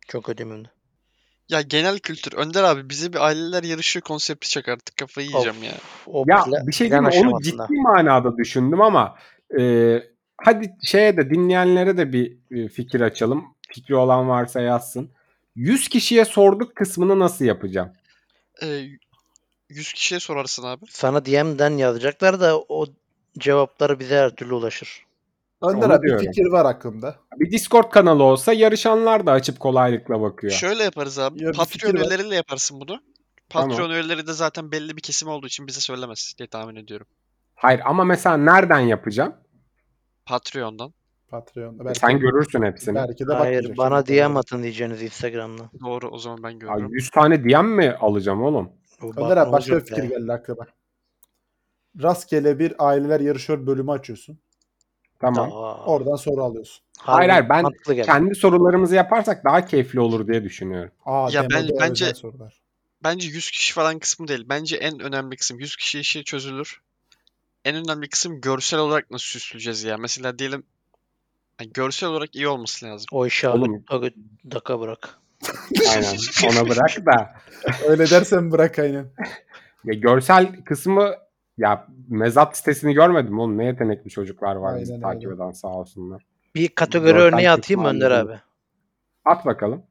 Speaker 5: Çok kötüyüm hem de.
Speaker 2: ya genel kültür. Önder abi bize bir aileler yarışı konsepti çak artık. Kafayı yiyeceğim ya.
Speaker 5: O
Speaker 3: Ya
Speaker 5: pla-
Speaker 3: bir şey
Speaker 5: plan
Speaker 3: diyeyim mi? onu
Speaker 5: aşamasında.
Speaker 3: ciddi manada düşündüm ama e, hadi şeye de dinleyenlere de bir e, fikir açalım. Fikri olan varsa yazsın. 100 kişiye sorduk kısmını nasıl yapacağım?
Speaker 2: Ee, 100 kişiye sorarsın abi.
Speaker 5: Sana DM'den yazacaklar da o cevapları bize her türlü ulaşır.
Speaker 4: Önder
Speaker 3: Onu
Speaker 4: abi bir
Speaker 3: diyorum.
Speaker 4: fikir var aklımda.
Speaker 3: Bir Discord kanalı olsa yarışanlar da açıp kolaylıkla bakıyor.
Speaker 2: Şöyle yaparız abi.
Speaker 4: Ya bir
Speaker 2: Patreon
Speaker 4: fikir var.
Speaker 2: üyeleriyle yaparsın bunu.
Speaker 3: Tamam.
Speaker 2: Patreon üyeleri de zaten belli bir kesim olduğu için bize söylemez diye tahmin ediyorum.
Speaker 3: Hayır ama mesela nereden yapacağım?
Speaker 2: Patreon'dan.
Speaker 4: Patreon'da.
Speaker 3: E,
Speaker 4: Belki,
Speaker 3: Sen görürsün hepsini.
Speaker 4: belki de
Speaker 5: Hayır
Speaker 4: bakmayacak
Speaker 5: bana
Speaker 4: şimdi.
Speaker 5: DM atın diyeceğiniz Instagram'dan.
Speaker 2: Doğru o zaman ben
Speaker 3: Ya
Speaker 2: görüyorum.
Speaker 3: 100 tane diyen mi alacağım oğlum?
Speaker 5: O ba-
Speaker 4: Önder
Speaker 5: ne
Speaker 4: abi başka bir
Speaker 5: olacak
Speaker 4: fikir
Speaker 5: be?
Speaker 4: geldi aklıma. Rastgele bir aileler yarışıyor bölümü açıyorsun.
Speaker 3: Tamam.
Speaker 5: Aa,
Speaker 4: Oradan soru alıyorsun.
Speaker 5: harbi
Speaker 3: hayır, ben
Speaker 5: mantıklı geldi.
Speaker 3: Kendi sorularımızı yaparsak daha keyifli olur diye düşünüyorum.
Speaker 4: Aa
Speaker 2: Ya
Speaker 4: demoda
Speaker 2: ben- bence-
Speaker 4: özel E sorular.
Speaker 2: Bence 100 kişi falan kısmı değil. Bence en önemli kısım 100 kişi işi çözülür. En önemli kısım görsel olarak nasıl süsleyeceğiz ya. Mesela diyelim yani görsel olarak iyi olması lazım.
Speaker 5: O işi
Speaker 3: Oğlum.
Speaker 5: Oğlum. dakika bırak.
Speaker 3: Aynen. Ona bırak da.
Speaker 4: Öyle dersen bırak aynen.
Speaker 3: Ya görsel kısmı ya mezat sitesini görmedim oğlum. Ne yetenekli çocuklar var bizi
Speaker 4: Aynen
Speaker 3: takip
Speaker 4: öyle.
Speaker 3: eden sağ olsunlar.
Speaker 5: Bir kategori
Speaker 3: Görsel
Speaker 5: örneği
Speaker 3: kısmı
Speaker 5: atayım mı Önder
Speaker 3: anladım.
Speaker 5: abi?
Speaker 3: At bakalım.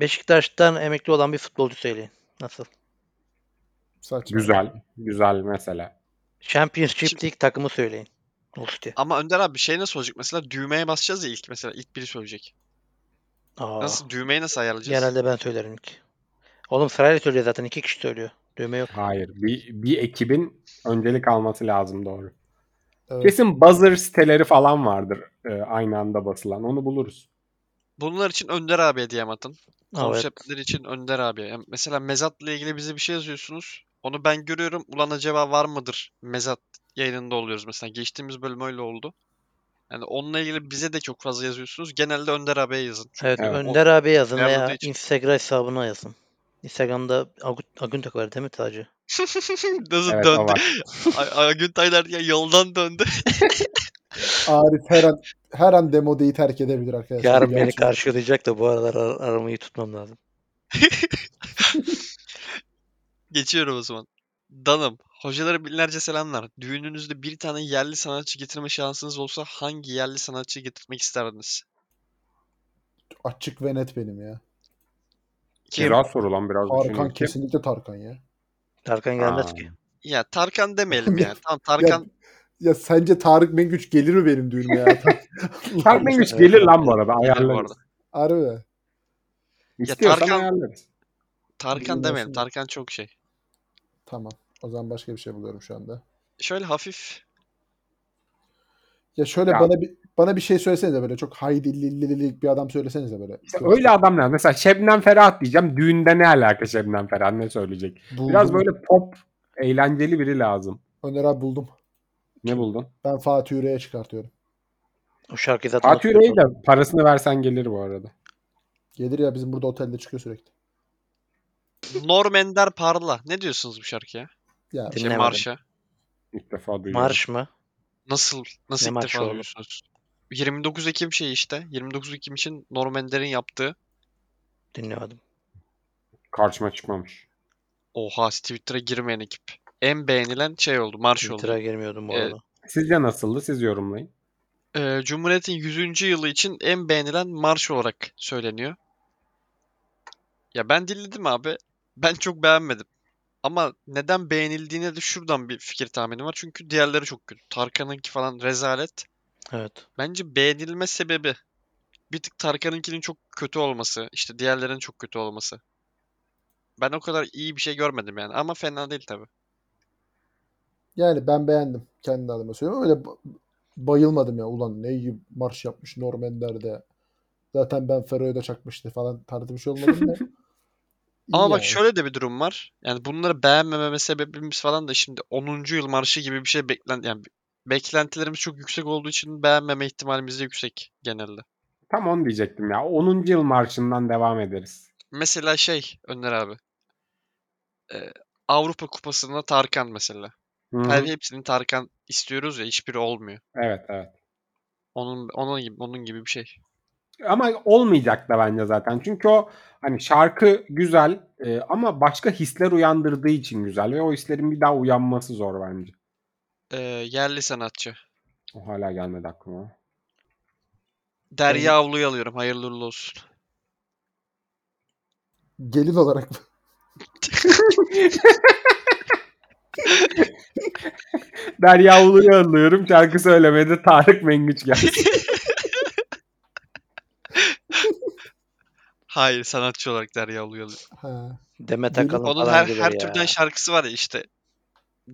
Speaker 5: Beşiktaş'tan emekli olan bir futbolcu söyleyin. Nasıl?
Speaker 4: Saçma.
Speaker 3: Güzel. Güzel mesela.
Speaker 5: Championship
Speaker 2: Şimdi-
Speaker 5: League takımı söyleyin. Usti.
Speaker 2: Ama Önder abi şey nasıl olacak? Mesela düğmeye basacağız ya ilk mesela ilk biri söyleyecek.
Speaker 5: Aa,
Speaker 2: Nasıl düğmeyi nasıl ayarlayacağız?
Speaker 5: genelde ben söylerim ilk. Oğlum sırayla söylüyor zaten. iki kişi söylüyor. Düğme yok.
Speaker 3: Hayır. Bir, bir ekibin öncelik alması lazım doğru.
Speaker 4: Evet.
Speaker 3: Kesin buzzer siteleri falan vardır e, aynı anda basılan. Onu buluruz.
Speaker 2: Bunlar için Önder abiye DM atın.
Speaker 5: Aa, evet.
Speaker 2: Konseptler için Önder abiye. Yani mesela mezatla ilgili bize bir şey yazıyorsunuz. Onu ben görüyorum. Ulan acaba var mıdır? Mezat yayınında oluyoruz mesela. Geçtiğimiz bölüm öyle oldu. Yani onunla ilgili bize de çok fazla yazıyorsunuz. Genelde Önder abiye yazın.
Speaker 5: Evet,
Speaker 3: Evet.
Speaker 5: Önder abi yazın veya
Speaker 2: Ayarladığı için.
Speaker 5: Instagram hesabına yazın. Instagram'da Agut- Agüntak var değil mi Taci?
Speaker 2: Nasıl
Speaker 3: Evet o
Speaker 2: döndü?
Speaker 3: var.
Speaker 2: Ay- Aygün Taylar ya yoldan döndü.
Speaker 4: Arif her an her an demodeyi terk edebilir arkadaşlar.
Speaker 5: Yarın beni
Speaker 4: Gerçekten.
Speaker 5: karşılayacak da bu aralar ar- aramayı tutmam lazım.
Speaker 2: Geçiyorum o zaman. Danım, hocalara binlerce selamlar. Düğününüzde bir tane yerli sanatçı getirme şansınız olsa hangi yerli sanatçı getirmek isterdiniz?
Speaker 4: Açık ve net benim ya.
Speaker 2: Kim?
Speaker 3: Güzel soru lan biraz
Speaker 4: Tarkan
Speaker 3: düşüneyim. Kim?
Speaker 4: kesinlikle Tarkan ya.
Speaker 5: Tarkan gelmez
Speaker 3: Aa.
Speaker 5: ki.
Speaker 2: Ya Tarkan demeyelim ya. Tamam Tarkan
Speaker 4: Ya sence Tarık Mengüç gelir mi benim düğünüme ya?
Speaker 3: Tarkan Güç gelir lan bu arada.
Speaker 2: Gelir bu
Speaker 3: Ayarlarız.
Speaker 2: arada.
Speaker 4: Harbi mi?
Speaker 3: İstiyorsan
Speaker 2: Tarkan-
Speaker 3: ayarlarız.
Speaker 2: Tarkan
Speaker 4: Bilmiyorum
Speaker 2: demeyelim.
Speaker 4: aslında.
Speaker 2: Tarkan çok şey.
Speaker 4: Tamam. O zaman başka bir şey buluyorum şu anda.
Speaker 2: Şöyle hafif
Speaker 4: Ya şöyle
Speaker 3: Ya.
Speaker 4: bana bir bana bir şey söylesenize böyle çok haydillillilik bir adam söylesenize böyle.
Speaker 3: İşte öyle adamlar. Mesela Şebnem Ferah diyeceğim. Düğünde ne alaka Şebnem Ferah? Ne söyleyecek?
Speaker 4: Buldum.
Speaker 3: Biraz böyle pop, eğlenceli biri lazım.
Speaker 4: Öner abi buldum.
Speaker 3: Ne buldun?
Speaker 4: Ben Fatih Üre'ye çıkartıyorum.
Speaker 5: O şarkıyı zaten
Speaker 3: Fatih
Speaker 5: hatırlıyorsun.
Speaker 3: Üreyi de parasını versen gelir bu arada.
Speaker 4: Gelir ya bizim burada otelde çıkıyor sürekli.
Speaker 2: Normender Parla. Ne diyorsunuz bu şarkıya?
Speaker 4: Ya
Speaker 5: Değil mi?
Speaker 2: Şey
Speaker 5: Dinlemedim.
Speaker 2: marşa.
Speaker 3: İlk defa duyuyorum.
Speaker 5: Marş mı?
Speaker 2: Nasıl nasıl
Speaker 5: Ne
Speaker 2: ilk
Speaker 5: marşı
Speaker 2: defa
Speaker 5: oğlum?
Speaker 2: duyuyorsunuz? 29 Ekim şeyi işte. 29 Ekim için Norm Ender'in yaptığı.
Speaker 5: Dinlemedim.
Speaker 3: Karşıma çıkmamış.
Speaker 2: Oha Twitter'a girmeyen ekip. En beğenilen şey oldu. Marş oldu.
Speaker 5: Twitter'a girmiyordum bu
Speaker 2: Evet.
Speaker 5: arada.
Speaker 3: Sizce nasıldı? Siz yorumlayın.
Speaker 2: Ee, Cumhuriyet'in 100. yılı için en beğenilen marş olarak söyleniyor. Ya ben dinledim abi. Ben çok beğenmedim. Ama neden beğenildiğine de şuradan bir fikir tahmini var. Çünkü diğerleri çok kötü. Tarkan'ınki falan rezalet.
Speaker 5: Evet.
Speaker 2: Bence beğenilme sebebi bir tık Tarkan'ınkinin çok kötü olması. işte diğerlerinin çok kötü olması. Ben o kadar iyi bir şey görmedim yani. Ama fena değil tabii.
Speaker 4: Yani ben beğendim kendi adıma söylüyorum. Öyle ba- bayılmadım ya. Ulan ne iyi marş yapmış Normenler'de. Zaten ben Fero'ya da çakmıştı falan tarzı bir şey olmadı mı?
Speaker 2: Ama bak şöyle de bir durum var. Yani bunları beğenmememe sebebimiz falan da şimdi 10. yıl marşı gibi bir şey beklen yani beklentilerimiz çok yüksek olduğu için beğenmeme ihtimalimiz de yüksek genelde.
Speaker 3: Tam onu diyecektim ya. 10. yıl marşından devam ederiz.
Speaker 2: Mesela şey Önder abi. Ee, Avrupa Kupası'nda Tarkan mesela.
Speaker 3: Hı hı.
Speaker 2: Her hepsinin Tarkan istiyoruz ya hiçbiri olmuyor.
Speaker 3: Evet evet.
Speaker 2: Onun onun gibi onun gibi bir şey.
Speaker 3: Ama olmayacak da bence zaten. Çünkü o hani şarkı güzel e, ama başka hisler uyandırdığı için güzel ve o hislerin bir daha uyanması zor bence.
Speaker 2: Ee, yerli sanatçı.
Speaker 3: O hala gelmedi aklıma.
Speaker 2: Derya Avlu'yu alıyorum. Hayırlı uğurlu olsun.
Speaker 4: Gelin olarak mı?
Speaker 3: Derya Ulu'yu anlıyorum. Şarkı söylemedi. Tarık Mengüç geldi.
Speaker 2: Hayır sanatçı olarak Derya Avlu'yu alıyorum.
Speaker 4: Ha.
Speaker 5: Demet
Speaker 4: Gelip
Speaker 5: Akalın
Speaker 2: Onun
Speaker 5: falan
Speaker 2: her
Speaker 5: gibi
Speaker 2: her
Speaker 5: ya.
Speaker 2: türden şarkısı var ya işte.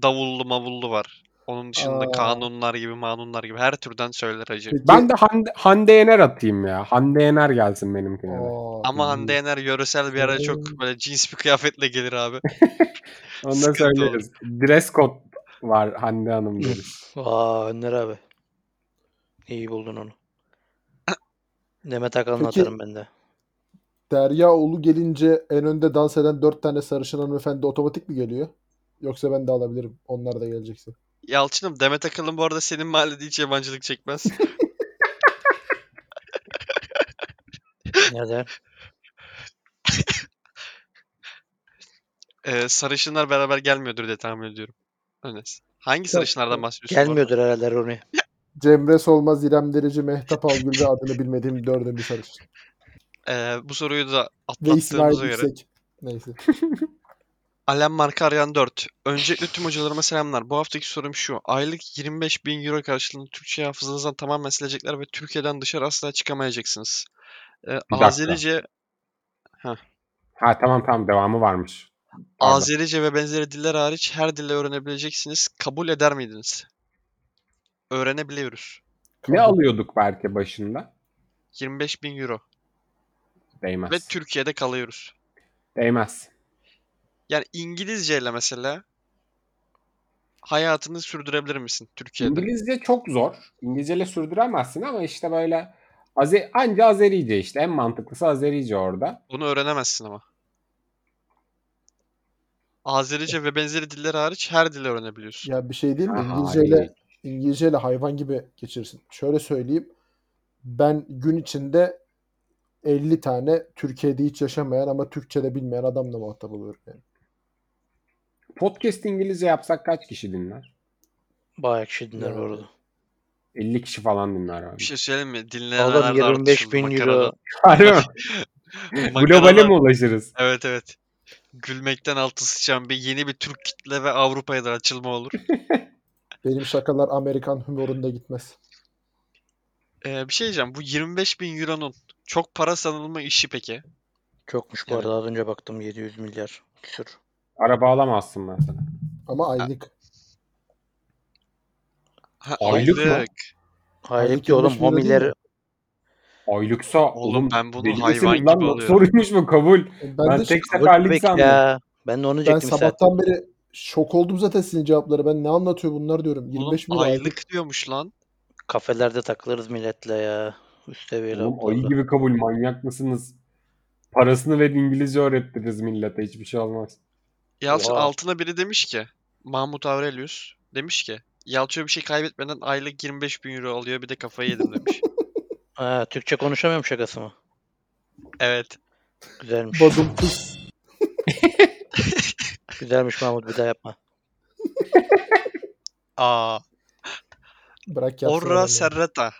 Speaker 2: Davullu mavullu var. Onun dışında
Speaker 4: Aa.
Speaker 2: kanunlar gibi manunlar gibi her türden söyler hacı.
Speaker 4: Peki-
Speaker 3: ben de Hande, Hande Yener atayım ya. Hande Yener gelsin benimkine de.
Speaker 4: Aa,
Speaker 2: Ama hani Hande Yener yöresel bir ara çok böyle cins bir kıyafetle gelir abi.
Speaker 3: Onu da
Speaker 2: sıkıntı
Speaker 3: söyleriz. Dress code var Hande Hanım deriz.
Speaker 5: Aa Önder abi. İyi buldun onu. Demet Akalın
Speaker 4: Peki-
Speaker 5: atarım ben de.
Speaker 4: Derya Ulu gelince en önde dans eden dört tane sarışın hanımefendi otomatik mi geliyor? Yoksa ben de alabilirim. Onlar da gelecekse.
Speaker 2: Yalçın'ım Demet Akalın bu arada senin mahallede hiç yabancılık çekmez.
Speaker 5: Neden?
Speaker 2: Ee, sarışınlar beraber gelmiyordur diye tahmin ediyorum. Önes. Hangi sarışınlardan bahsediyorsun? bu arada?
Speaker 5: Gelmiyordur herhalde Roni.
Speaker 4: Cemre Solmaz, İrem Derici, Mehtap Algül ve adını bilmediğim dördün bir sarışın.
Speaker 2: Ee, bu soruyu da
Speaker 4: Ve İsmail
Speaker 2: atlattığımıza göre.
Speaker 4: Yüksek. Neyse.
Speaker 2: Alem marka arayan 4. Öncelikle tüm hocalarıma selamlar. Bu haftaki sorum şu. Aylık 25 bin euro karşılığında Türkçe hafızanızdan tamamen silecekler ve Türkiye'den dışarı asla çıkamayacaksınız. Ee,
Speaker 3: dakika.
Speaker 2: Azerice,
Speaker 3: Ha tamam tamam devamı varmış. Pardon.
Speaker 2: Azerice ve benzeri diller hariç her dille öğrenebileceksiniz. Kabul eder miydiniz? Öğrenebiliyoruz.
Speaker 3: Ne alıyorduk belki başında?
Speaker 2: 25 bin euro.
Speaker 3: Değmez.
Speaker 2: Ve Türkiye'de kalıyoruz.
Speaker 3: Değmez.
Speaker 2: Yani İngilizceyle mesela hayatını sürdürebilir misin Türkiye'de?
Speaker 3: İngilizce çok zor. İngilizceyle sürdüremezsin ama işte böyle Aze anca Azerice işte. En mantıklısı Azerice orada.
Speaker 2: Bunu öğrenemezsin ama. Azerice ve benzeri diller hariç her dili öğrenebiliyorsun.
Speaker 4: Ya bir şey değil mi?
Speaker 3: Aha,
Speaker 4: İngilizceyle
Speaker 3: iyi.
Speaker 4: İngilizceyle hayvan gibi geçirsin. Şöyle söyleyeyim. Ben gün içinde 50 tane Türkiye'de hiç yaşamayan ama Türkçe'de bilmeyen adamla muhatap oluyorum yani.
Speaker 3: Podcast İngilizce yapsak kaç kişi dinler?
Speaker 5: Bayağı kişi dinler bu
Speaker 4: Yani.
Speaker 5: arada.
Speaker 3: 50 kişi falan dinler abi.
Speaker 2: Bir şey söyleyeyim mi? Dinleyenler
Speaker 5: Oğlum
Speaker 2: de
Speaker 5: 25
Speaker 2: artışıldı
Speaker 5: bin
Speaker 2: makarada.
Speaker 5: euro.
Speaker 3: Harbi mi? Globale
Speaker 2: Makarada-
Speaker 3: mi ulaşırız?
Speaker 2: Evet evet. Gülmekten altı sıçan bir yeni bir Türk kitle ve Avrupa'ya da açılma olur.
Speaker 4: Benim şakalar Amerikan humorunda gitmez.
Speaker 2: Ee, bir şey diyeceğim. Bu 25 bin euronun çok para sanılma işi peki.
Speaker 5: Çokmuş bu
Speaker 2: Yani.
Speaker 5: arada az önce baktım 700 milyar küsür.
Speaker 3: Araba alamazsın ben sana.
Speaker 4: Ama aylık.
Speaker 2: Ha,
Speaker 3: Aylık mı?
Speaker 5: Aylık
Speaker 4: Aylık
Speaker 5: diyor oğlum
Speaker 4: 25 bin euro değil mi?
Speaker 5: homileri
Speaker 3: Aylıksa
Speaker 2: Oğlum, ben bunu
Speaker 3: deli misiniz
Speaker 2: hayvan gibi
Speaker 3: lan? Nasıl
Speaker 2: alıyorum.
Speaker 3: Soruymuş bu kabul.
Speaker 4: Ben,
Speaker 3: Ben,
Speaker 4: de
Speaker 3: tek
Speaker 5: kabul
Speaker 3: seferlik
Speaker 5: bebek
Speaker 3: sandım.
Speaker 5: ya. Ben de onu
Speaker 4: ben
Speaker 5: diyecektim zaten.
Speaker 4: sabahtan beri şok oldum zaten sizin cevapları. Ben ne anlatıyor bunlar diyorum.
Speaker 2: Oğlum
Speaker 4: 25 bin euro
Speaker 2: aylık diyormuş lan.
Speaker 5: Kafelerde takılırız milletle ya. Üst seviyeli
Speaker 3: Oğlum ayı
Speaker 5: hoplarla.
Speaker 3: gibi kabul manyak mısınız? Parasını ve İngilizce öğrettiriz millete hiçbir şey olmaz.
Speaker 2: Yalçın
Speaker 5: Oha.
Speaker 2: altına biri demiş ki Mahmut Aurelius demiş ki Yalçın bir şey kaybetmeden aylık 25 bin euro alıyor bir de kafayı yedim demiş.
Speaker 5: Ha, Türkçe konuşamıyorum şakası mı?
Speaker 2: Evet.
Speaker 5: Güzelmiş.
Speaker 4: Bazım kız.
Speaker 5: Güzelmiş Mahmut bir daha yapma.
Speaker 2: Aa.
Speaker 6: Bırak yapsın.
Speaker 2: Orra
Speaker 6: adamı.
Speaker 2: Serrata.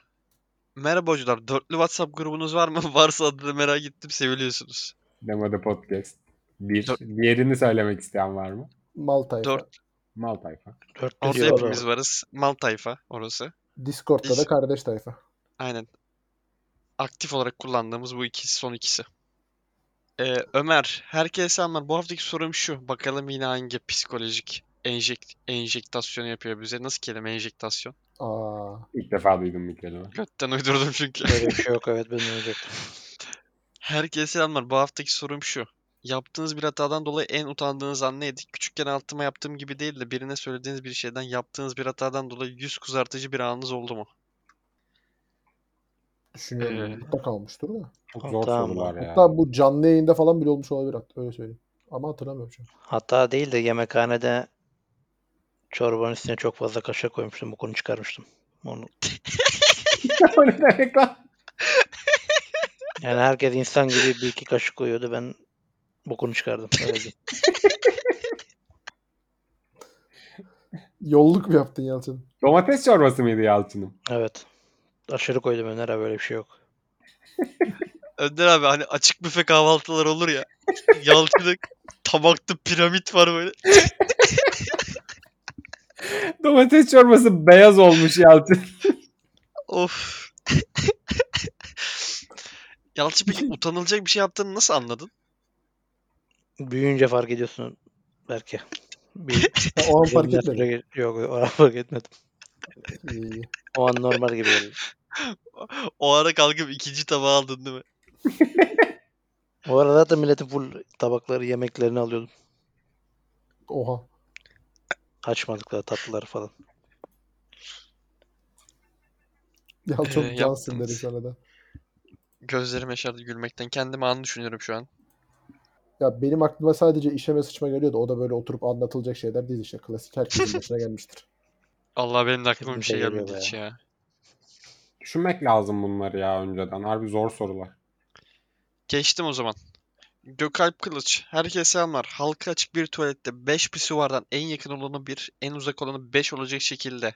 Speaker 2: Merhaba hocalar. Dörtlü WhatsApp grubunuz var mı? Varsa adını merak ettim. Seviliyorsunuz.
Speaker 3: Demode Podcast. Bir.
Speaker 2: Dört-
Speaker 3: Diğerini söylemek isteyen var mı?
Speaker 6: Malta'ya.
Speaker 2: Dört.
Speaker 3: Mal tayfa.
Speaker 5: Dörtlü
Speaker 2: Orada
Speaker 5: diyorlar
Speaker 2: hepimiz
Speaker 5: ama.
Speaker 2: varız. Mal tayfa orası.
Speaker 6: Discord'da da
Speaker 2: Hiç-
Speaker 6: kardeş tayfa.
Speaker 2: Aynen. Aktif olarak kullandığımız bu ikisi son ikisi. Ee, Ömer, herkese selamlar. Bu haftaki sorum şu. Bakalım yine hangi psikolojik enjekt, enjektasyon yapıyor bize. Nasıl kelime enjektasyon?
Speaker 6: Aa.
Speaker 3: İlk defa duydum bir kelime.
Speaker 2: Götten uydurdum çünkü.
Speaker 5: Böyle bir şey yok evet bilmeyecektim.
Speaker 2: Herkese selamlar. Bu haftaki sorum şu. Yaptığınız bir hatadan dolayı en utandığınız an neydi? Küçükken altıma yaptığım gibi değil de birine söylediğiniz bir şeyden yaptığınız bir hatadan dolayı yüz kızartıcı bir anınız oldu mu?
Speaker 6: Düşünüyorum.
Speaker 2: Ee.
Speaker 6: Mutlaka olmuştur da.
Speaker 3: Çok
Speaker 5: Tamam,
Speaker 3: zor
Speaker 5: tamam.
Speaker 3: sorular ya.
Speaker 6: Hatta bu canlı yayında falan bile olmuş olabilir. hat- Öyle söyleyeyim. Ama hatırlamıyorum şu an.
Speaker 5: Hata değil de yemekhanede çorbanın üstüne çok fazla kaşık koymuştum. Bu konu çıkarmıştım. Onu.
Speaker 3: O ne demek lan?
Speaker 5: Yani herkes insan gibi bir iki kaşık koyuyordu. Ben bokunu çıkardım. Öyle diyeyim.
Speaker 6: Yolluk mu yaptın Yalçın?
Speaker 3: Domates çorbası mıydı Yalçın'ım?
Speaker 5: Evet. Aşırı koydum Öner abi böyle bir şey yok.
Speaker 2: Önder abi hani açık büfe kahvaltılar olur ya. Yalçın'ın tabakta piramit var böyle.
Speaker 3: Domates çorbası beyaz olmuş Yalçın.
Speaker 2: Of. Yalçın peki utanılacak bir şey yaptığını nasıl anladın?
Speaker 5: Büyüyünce fark ediyorsun belki. Bir,
Speaker 6: Ha, o an fark
Speaker 5: bir süre
Speaker 6: etmedim.
Speaker 5: ge- yok o an fark etmedim.
Speaker 6: İyi, iyi.
Speaker 5: O an normal gibi geldi.
Speaker 2: O ara kalkıp ikinci tabağı aldın değil mi?
Speaker 5: O arada zaten milletin full tabakları yemeklerini alıyordum.
Speaker 6: Oha.
Speaker 5: Açmadıkları tatlıları falan.
Speaker 6: Yalçın
Speaker 2: Ee,
Speaker 6: cansın
Speaker 2: yaptınız.
Speaker 6: derim sana da.
Speaker 2: Gözlerim yaşardı gülmekten. Kendimi anı düşünüyorum şu an.
Speaker 6: Ya benim aklıma sadece işeme sıçma geliyordu. O da böyle oturup anlatılacak şeyler değil işte. Klasik herkesin başına gelmiştir.
Speaker 2: Allah benim de aklıma bir
Speaker 5: Hepimize
Speaker 2: şey
Speaker 5: geliyor
Speaker 2: gelmedi
Speaker 5: be
Speaker 2: hiç ya.
Speaker 3: Düşünmek lazım bunları ya önceden. Harbi zor sorular.
Speaker 2: Geçtim o zaman. Gökalp Kılıç. Herkese selamlar. Halka açık bir tuvalette 5 pisuvardan en yakın olanı 1, en uzak olanı 5 olacak şekilde.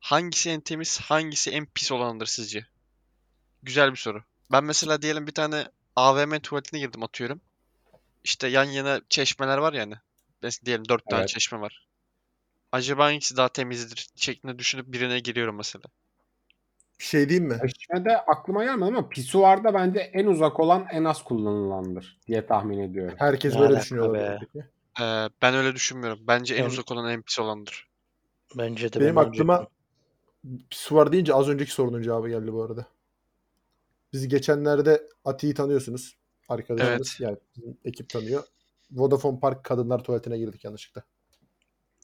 Speaker 2: Hangisi en temiz, hangisi en pis olanıdır sizce? Güzel bir soru. Ben mesela diyelim bir tane AVM tuvaletine girdim atıyorum. İşte yan yana çeşmeler var yani. Mesela diyelim 4 tane
Speaker 3: Evet.
Speaker 2: çeşme var. Acaba hangisi daha temizdir şeklinde düşünüp birine giriyorum mesela.
Speaker 4: Bir şey diyeyim mi?
Speaker 3: Eşmede aklıma gelmedi ama pisuarda bence en uzak olan en az kullanılandır diye tahmin ediyorum.
Speaker 4: Herkes
Speaker 5: Ne
Speaker 4: böyle
Speaker 5: alaka
Speaker 4: düşünüyor
Speaker 5: be?
Speaker 4: olabilir. peki.
Speaker 2: Ee, ben öyle düşünmüyorum. Bence en
Speaker 5: Ben-
Speaker 2: uzak olan en pis olandır.
Speaker 5: Bence de
Speaker 4: Benim
Speaker 5: ben
Speaker 4: aklıma
Speaker 5: diyecektim.
Speaker 6: Pis-
Speaker 4: su var deyince az önceki sorunun cevabı geldi bu arada. Biz geçenlerde Ati'yi tanıyorsunuz. Arkadaşımız yani bizim ekip tanıyor. Vodafone Park kadınlar tuvaletine girdik yanlışlıkla.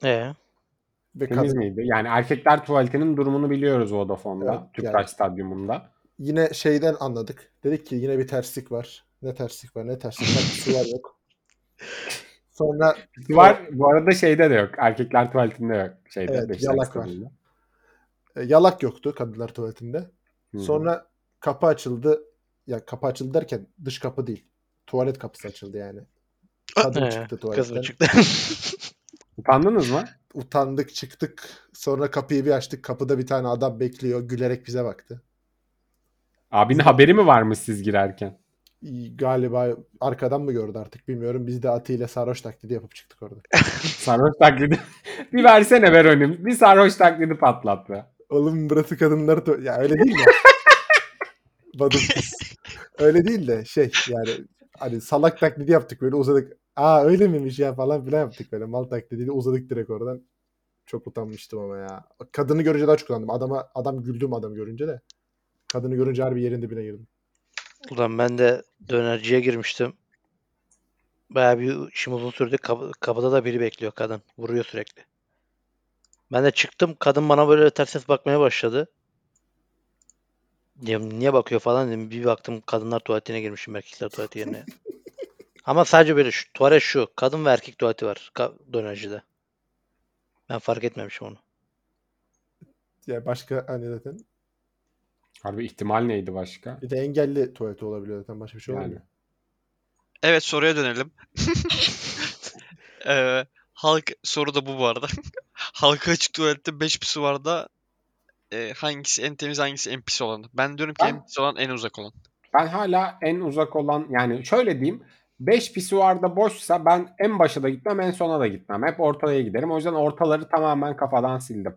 Speaker 5: Ee,
Speaker 4: Ve
Speaker 3: Temiz
Speaker 4: kadın
Speaker 3: miydi? Yani erkekler tuvaletinin durumunu biliyoruz Vodafone'da.
Speaker 4: Evet,
Speaker 3: Tüpraş
Speaker 4: yani.
Speaker 3: Stadyumunda.
Speaker 4: yine şeyden anladık. Dedik ki yine bir terslik var. Ne terslik var ne terslik var. su var yok. Sonra
Speaker 3: Var bu arada şeyde de yok. Erkekler tuvaletinde yok. şey Şeyde,
Speaker 4: Evet,
Speaker 3: Beşiktaş
Speaker 4: yalak var.
Speaker 3: Stadyumunda.
Speaker 4: e, yalak yoktu kadınlar tuvaletinde.
Speaker 3: Hı hı.
Speaker 4: Sonra kapı açıldı. Ya kapı açıldı derken dış kapı değil. Tuvalet kapısı açıldı yani.
Speaker 3: Ah,
Speaker 4: Kadın
Speaker 5: ee,
Speaker 4: çıktı
Speaker 5: kız
Speaker 4: tuvaletten.
Speaker 5: mı çıktı?
Speaker 3: Utandınız mı?
Speaker 4: Utandık çıktık. Sonra kapıyı bir açtık. Kapıda bir tane adam bekliyor. Gülerek bize baktı.
Speaker 3: Abinin haberi mi varmış siz girerken?
Speaker 4: İyi, Galiba arkadan mı gördü artık bilmiyorum. Biz de Ati ile sarhoş taklidi yapıp çıktık orada.
Speaker 3: Sarhoş taklidi. bir versene ver önüm. Bir sarhoş taklidi patlattı.
Speaker 4: Oğlum burası kadınlar tu- Ya öyle değil de. Badum kız. Öyle değil de şey yani hani salak taklidi yaptık böyle uzadık. Aa öyle miymiş ya falan filan yaptık böyle mal taklidiyle uzadık direkt oradan. Çok utanmıştım ama ya. Kadını görünce daha çok utandım. Adama, adam güldüm adam görünce de. Kadını görünce harbi yerin dibine girdim.
Speaker 5: Ulan ben de dönerciye girmiştim. Bayağı bir işim uzun sürdü. Kapı- kapıda da biri bekliyor kadın. Vuruyor sürekli. Ben de çıktım. Kadın bana böyle ters ters bakmaya başladı. Diyorum, niye bakıyor falan dedim. Bir baktım kadınlar tuvaletine girmişim erkekler tuvaleti yerine. Ama sadece böyle şu, tuvalet şu. Kadın ve erkek tuvaleti var ka- dönercide. Ben fark etmemişim onu.
Speaker 4: Ya başka hani zaten
Speaker 3: Harbi ihtimal neydi başka?
Speaker 4: bir de engelli tuvaleti olabiliyor zaten başka bir şey
Speaker 3: Yani.
Speaker 4: olmuyor.
Speaker 2: Evet soruya dönelim. Ee, halk soru da bu bu arada. Halka açık tuvalette 5 pis var da e, hangisi en temiz hangisi en pis olan? Ben diyorum ki en pis olan en uzak olan.
Speaker 3: Ben hala en uzak olan yani şöyle diyeyim 5 pisuarda boşsa ben en başa da gitmem en sona da gitmem. Hep ortalaya giderim. O yüzden ortaları tamamen kafadan sildim.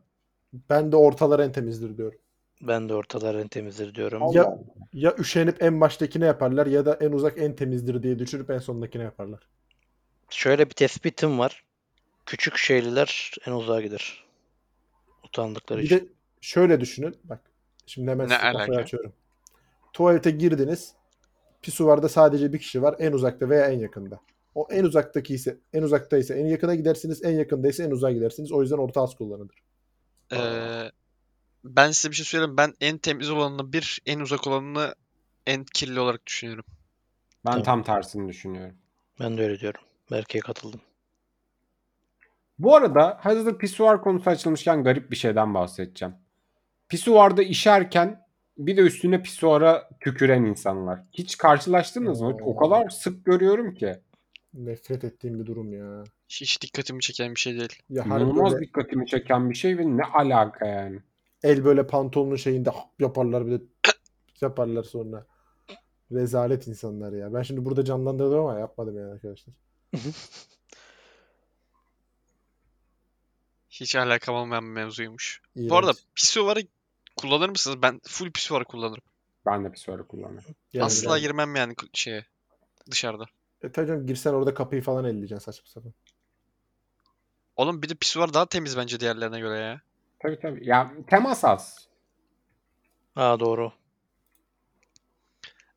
Speaker 4: Ben de ortalar en temizdir diyorum.
Speaker 5: Ben de ortalar en temizdir diyorum.
Speaker 4: Ya- Ya üşenip en baştakine yaparlar ya da en uzak en temizdir diye düşünüp en sondakine yaparlar.
Speaker 5: Şöyle bir tespitim var. Küçük şeyliler en uzağa gider. Utandıkları
Speaker 4: Bir
Speaker 5: için.
Speaker 4: de şöyle düşünün. Bak şimdi
Speaker 2: Ne
Speaker 4: hemen size kafayı
Speaker 2: alaka?
Speaker 4: açıyorum. Tuvalete girdiniz. Pisuvarda sadece bir kişi var. En uzakta veya en yakında. O en uzaktaki ise en uzakta ise en yakına gidersiniz. En yakında ise en uzağa gidersiniz. O yüzden orta az kullanılır.
Speaker 2: Ee, ben size bir şey söyleyeyim. Ben en temiz olanını bir, en uzak olanını en kirli olarak düşünüyorum.
Speaker 3: Ben
Speaker 5: Tamam.
Speaker 3: tam tersini düşünüyorum.
Speaker 5: Ben de öyle diyorum. Berke'ye katıldım.
Speaker 3: Bu arada hazır pisuar konusu açılmışken garip bir şeyden bahsedeceğim. Pisuarda işerken bir de üstüne pisuara tüküren insanlar. Hiç karşılaştınız mı? O kadar sık görüyorum ki.
Speaker 4: Nefret ettiğim bir durum ya.
Speaker 2: Hiç dikkatimi çeken bir şey değil.
Speaker 4: Ya harbi
Speaker 3: İnanılmaz
Speaker 4: böyle
Speaker 3: dikkatimi çeken bir şey ve ne alaka yani.
Speaker 4: el böyle pantolonun şeyinde hap yaparlar bir de şey yaparlar sonra. Rezalet insanlar ya. Ben şimdi burada canlandırdım ama yapmadım yani arkadaşlar.
Speaker 2: Hiç alakam olmayan bir mevzuymuş.
Speaker 4: İğrenç.
Speaker 2: Bu arada pisuvarı kullanır mısınız? Ben full pisuvarı kullanırım.
Speaker 3: Ben de pisuarı kullanıyorum.
Speaker 4: Yani
Speaker 2: Asla
Speaker 4: ben-
Speaker 2: girmem yani k- şeye dışarıda.
Speaker 4: E tabii canım girsen orada kapıyı falan elleyeceksin saçma sapan.
Speaker 2: Oğlum bir de pisuvar daha temiz bence diğerlerine göre ya.
Speaker 3: Tabii tabii. Ya temas az.
Speaker 5: Aa doğru.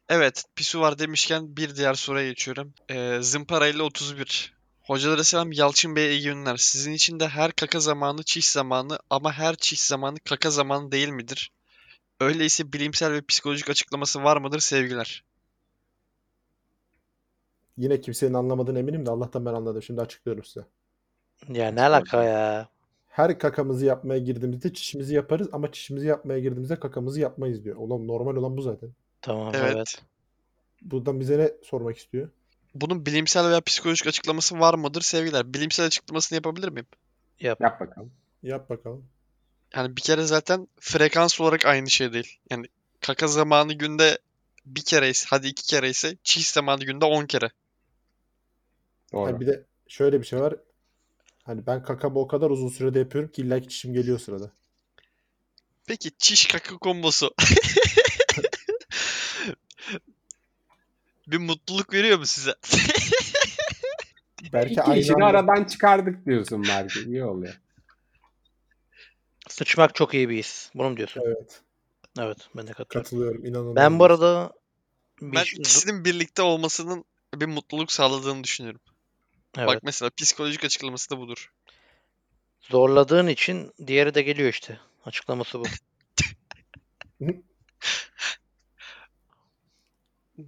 Speaker 2: Evet, pisuvar demişken bir diğer soruya geçiyorum. Ee, zımparayla 31. Hocalara selam Yalçın Bey iyi günler. Sizin için de her kaka zamanı çiş zamanı ama her çiş zamanı kaka zamanı değil midir? Öyleyse bilimsel ve psikolojik açıklaması var mıdır sevgiler?
Speaker 4: Yine kimsenin anlamadığını eminim de Allah'tan ben anladım. Şimdi açıklıyorum size.
Speaker 5: Ya ne alaka ya?
Speaker 4: Her kakamızı yapmaya girdiğimizde çişimizi yaparız ama çişimizi yapmaya girdiğimizde kakamızı yapmayız diyor. Oğlum normal olan bu zaten.
Speaker 5: Tamam
Speaker 2: Evet.
Speaker 5: evet.
Speaker 4: Buradan bize ne sormak istiyor?
Speaker 2: Bunun bilimsel veya psikolojik açıklaması var mıdır sevgiler? Bilimsel açıklamasını yapabilir miyim?
Speaker 5: Yap.
Speaker 3: Yap bakalım.
Speaker 4: Yap bakalım.
Speaker 2: Yani bir kere zaten frekans olarak aynı şey değil. Yani kaka zamanı günde bir kere ise, hadi iki kere ise çiş zamanı günde 10 kere.
Speaker 3: Doğru.
Speaker 4: Ha bir de şöyle bir şey var. Hani ben kakamı o kadar uzun sürede yapıyorum ki illa ki çişim geliyor sırada.
Speaker 2: Peki çiş kaka kombosu. Bir mutluluk veriyor mu size?
Speaker 4: Belki
Speaker 3: İki işini
Speaker 4: aynı anda,
Speaker 3: aradan çıkardık diyorsun belki. İyi oluyor.
Speaker 5: Sıçmak çok iyi bir his. Bunu mu diyorsun?
Speaker 4: Evet.
Speaker 5: Evet. Ben de katılıyorum.
Speaker 4: Katılıyorum. inanılmaz.
Speaker 5: Ben bu arada bir
Speaker 2: Ben
Speaker 5: şey-
Speaker 2: ikisinin birlikte olmasının bir mutluluk sağladığını düşünüyorum.
Speaker 5: Evet.
Speaker 2: Bak mesela psikolojik açıklaması da budur.
Speaker 5: Zorladığın için diğeri de geliyor işte. Açıklaması bu.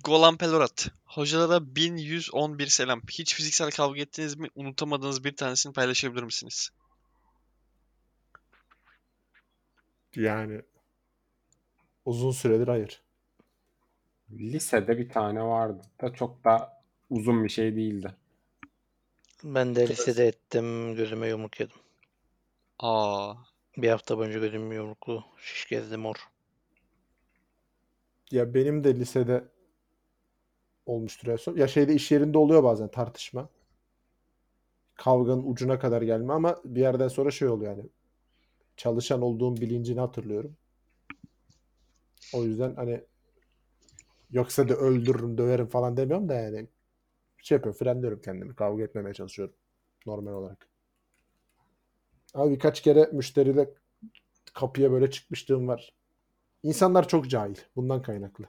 Speaker 2: Golan Pelorat. Hocalara 1111 selam. Hiç fiziksel kavga ettiniz mi? Unutamadığınız bir tanesini paylaşabilir misiniz?
Speaker 4: Yani uzun süredir hayır.
Speaker 3: Lisede bir tane vardı da çok da uzun bir şey değildi.
Speaker 5: Ben de lisede ettim. Gözüme yumruk yedim.
Speaker 2: Aa,
Speaker 5: Bir hafta boyunca gözüm yumruklu. Şiş gezdi mor.
Speaker 4: Ya benim de lisede olmuştur en son. Ya şeyde iş yerinde oluyor bazen tartışma. Kavganın ucuna kadar gelme ama bir yerden sonra şey oluyor yani. Çalışan olduğum bilincini hatırlıyorum. O yüzden hani yoksa da öldürürüm, döverim falan demiyorum da yani şey yapıyorum, frenliyorum kendimi. Kavga etmemeye çalışıyorum normal olarak. Abi birkaç kere müşteriyle kapıya böyle çıkmışlığım var. İnsanlar çok cahil. Bundan kaynaklı.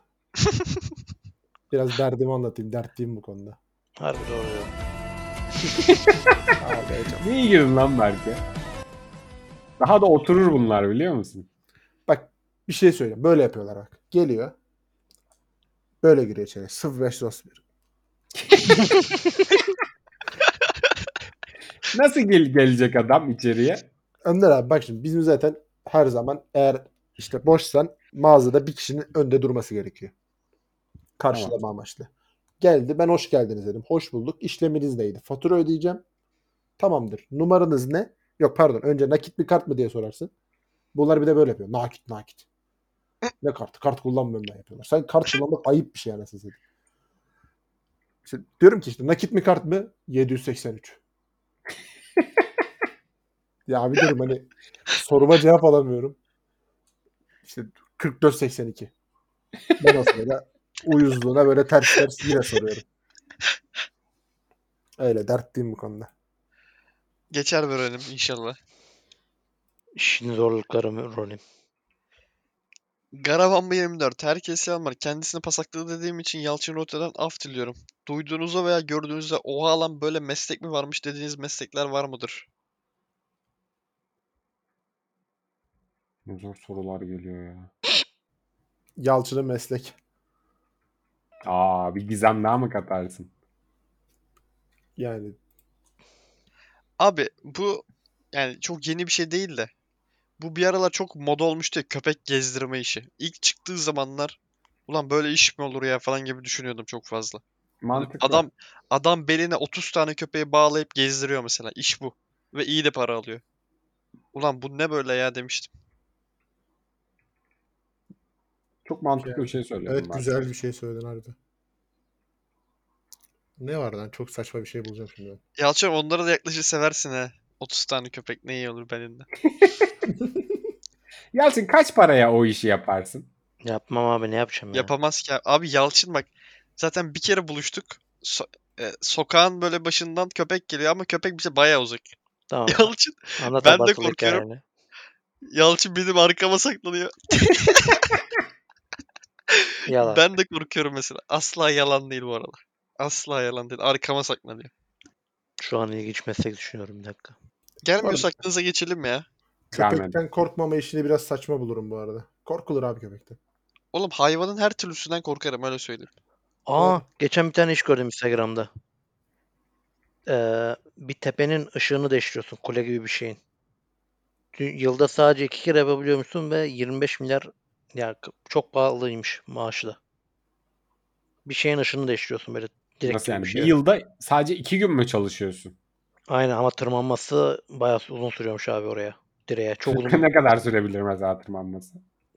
Speaker 4: Biraz derdimi anlatayım. Dertliyim bu konuda.
Speaker 5: Harbi doğru. ya.
Speaker 4: Abi, hocam.
Speaker 3: Niye girdin lan belki? Daha da oturur bunlar biliyor musun?
Speaker 4: bak bir şey söyleyeyim. Böyle yapıyorlar bak. Geliyor. Böyle giriyor içeri. 0531.
Speaker 3: Nasıl gel gelecek adam içeriye?
Speaker 4: Önder abi bak şimdi bizim zaten her zaman eğer işte boşsan mağazada bir kişinin önde durması gerekiyor. Karşılama amaçlı. Geldi ben hoş geldiniz dedim. Hoş bulduk. İşleminiz neydi? Fatura ödeyeceğim. Tamamdır. Numaranız ne? Yok pardon. Önce nakit mi kart mı diye sorarsın. Bunlar bir de böyle yapıyor. Nakit nakit. Ne kartı? Kart kullanmıyorum ben yapıyorlar. Sen kart kullanmak ayıp bir şey anasını satayım. İşte diyorum ki işte nakit mi kart mı? 783. ya bir durum hani soruma cevap alamıyorum. İşte 4482. Ben o sırada uyuzluğuna böyle ters ters yine soruyorum. Öyle dertliyim bu konuda.
Speaker 2: Geçer verelim inşallah.
Speaker 5: İşin zorlukları Ronin.
Speaker 2: Garavan mı 24? Herkese selam var. Kendisine pasakladı dediğim için Yalçın Rota'dan af diliyorum. Duyduğunuzda veya gördüğünüzde oha lan böyle meslek mi varmış dediğiniz meslekler var mıdır?
Speaker 3: Ne zor sorular geliyor ya.
Speaker 4: Yalçın'ın meslek.
Speaker 3: Aa bir gizem daha mı katarsın?
Speaker 4: Yani
Speaker 2: Abi bu yani çok yeni bir şey değil de bu bir aralar çok moda olmuştu ya köpek gezdirme işi. İlk çıktığı zamanlar ulan böyle iş mi olur ya falan gibi düşünüyordum çok fazla.
Speaker 3: Mantıklı.
Speaker 2: Adam adam beline 30 tane köpeği bağlayıp gezdiriyor mesela. İş bu. Ve iyi de para alıyor. Ulan bu ne böyle ya demiştim.
Speaker 3: çok mantıklı bir şey söyledim.
Speaker 4: evet
Speaker 3: ben.
Speaker 4: güzel bir şey söyledin harbi. Ne var lan? Çok saçma bir şey bulacağım şimdi.
Speaker 2: Yalçın onları da yaklaşık seversin ha. 30 tane köpek ne iyi olur belinde.
Speaker 3: Yalçın kaç paraya o işi yaparsın?
Speaker 5: Yapmam abi ne yapacağım ya.
Speaker 2: Yapamaz ki abi. Abi Yalçın bak zaten bir kere buluştuk. So- e, sokağın böyle başından köpek geliyor ama köpek bize bayağı uzak.
Speaker 5: tamam.
Speaker 2: Yalçın,
Speaker 5: Anlat
Speaker 2: ben de
Speaker 5: abartılı
Speaker 2: korkuyorum.
Speaker 5: hikayeni.
Speaker 2: Yalçın benim arkama saklanıyor.
Speaker 5: Yalan.
Speaker 2: Ben de korkuyorum mesela. Asla yalan değil bu arada. Asla yalan değil. Arkama saklanıyor.
Speaker 5: Şu an ilginç meslek düşünüyorum bir dakika.
Speaker 2: Gelmiyorsa aklınıza geçelim ya.
Speaker 4: Köpekten
Speaker 3: Gelmedi.
Speaker 4: korkmama işini biraz saçma bulurum bu arada. Korkulur abi köpekten.
Speaker 2: Oğlum hayvanın her türlüsünden korkarım öyle söyleyeyim.
Speaker 5: Aa geçen bir tane iş gördüm Instagram'da. Ee, bir tepenin ışığını değiştiriyorsun. Kule gibi bir şeyin. Dü- Yılda sadece iki kere yapabiliyormuşsun ve 25 milyar ya k- çok pahalıymış maaşı da. Bir şeyin ışığını değiştiriyorsun böyle direkt
Speaker 3: Nasıl
Speaker 5: gibi
Speaker 3: yani?
Speaker 5: bir
Speaker 3: Bir
Speaker 5: şey.
Speaker 3: yılda sadece iki gün mü çalışıyorsun?
Speaker 5: Aynen ama tırmanması bayağı uzun sürüyormuş abi oraya. Direğe. Çok uzun
Speaker 3: ne kadar sürebilir mesela tırmanması?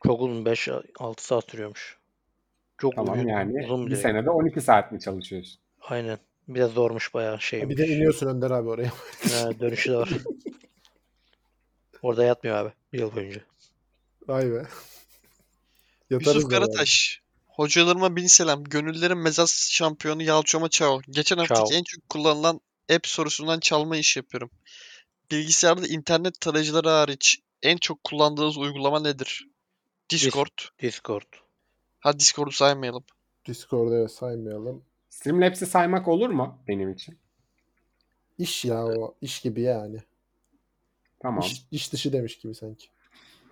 Speaker 5: Çok uzun 5-6 saat sürüyormuş. Çok
Speaker 3: Tamam
Speaker 5: uzun,
Speaker 3: yani
Speaker 5: uzun bir
Speaker 3: bir
Speaker 5: direkt.
Speaker 3: senede 12 saat mi çalışıyorsun?
Speaker 5: Aynen. Bir de zormuş bayağı
Speaker 4: Ha, Bir
Speaker 5: şeymiş.
Speaker 4: de iniyorsun Önder abi oraya.
Speaker 5: Ha, dönüşü de var. Orada yatmıyor abi bir yıl boyunca.
Speaker 4: Vay be.
Speaker 2: Yusuf
Speaker 4: da yani.
Speaker 2: Karataş. Hocalarıma bin selam. Gönüllerin mezas şampiyonu Yalçoma Çao. Geçen haftaki
Speaker 5: Çao.
Speaker 2: en çok kullanılan app sorusundan çalma işi yapıyorum. Bilgisayarda internet tarayıcıları hariç en çok kullandığınız uygulama nedir? Discord.
Speaker 5: Discord.
Speaker 2: Ha Discord'u saymayalım.
Speaker 4: Discord'a evet, saymayalım.
Speaker 3: Streamlabs'i saymak olur mu benim için?
Speaker 4: İş ya o. iş gibi yani.
Speaker 3: Tamam.
Speaker 4: İş, iş dışı demiş gibi sanki.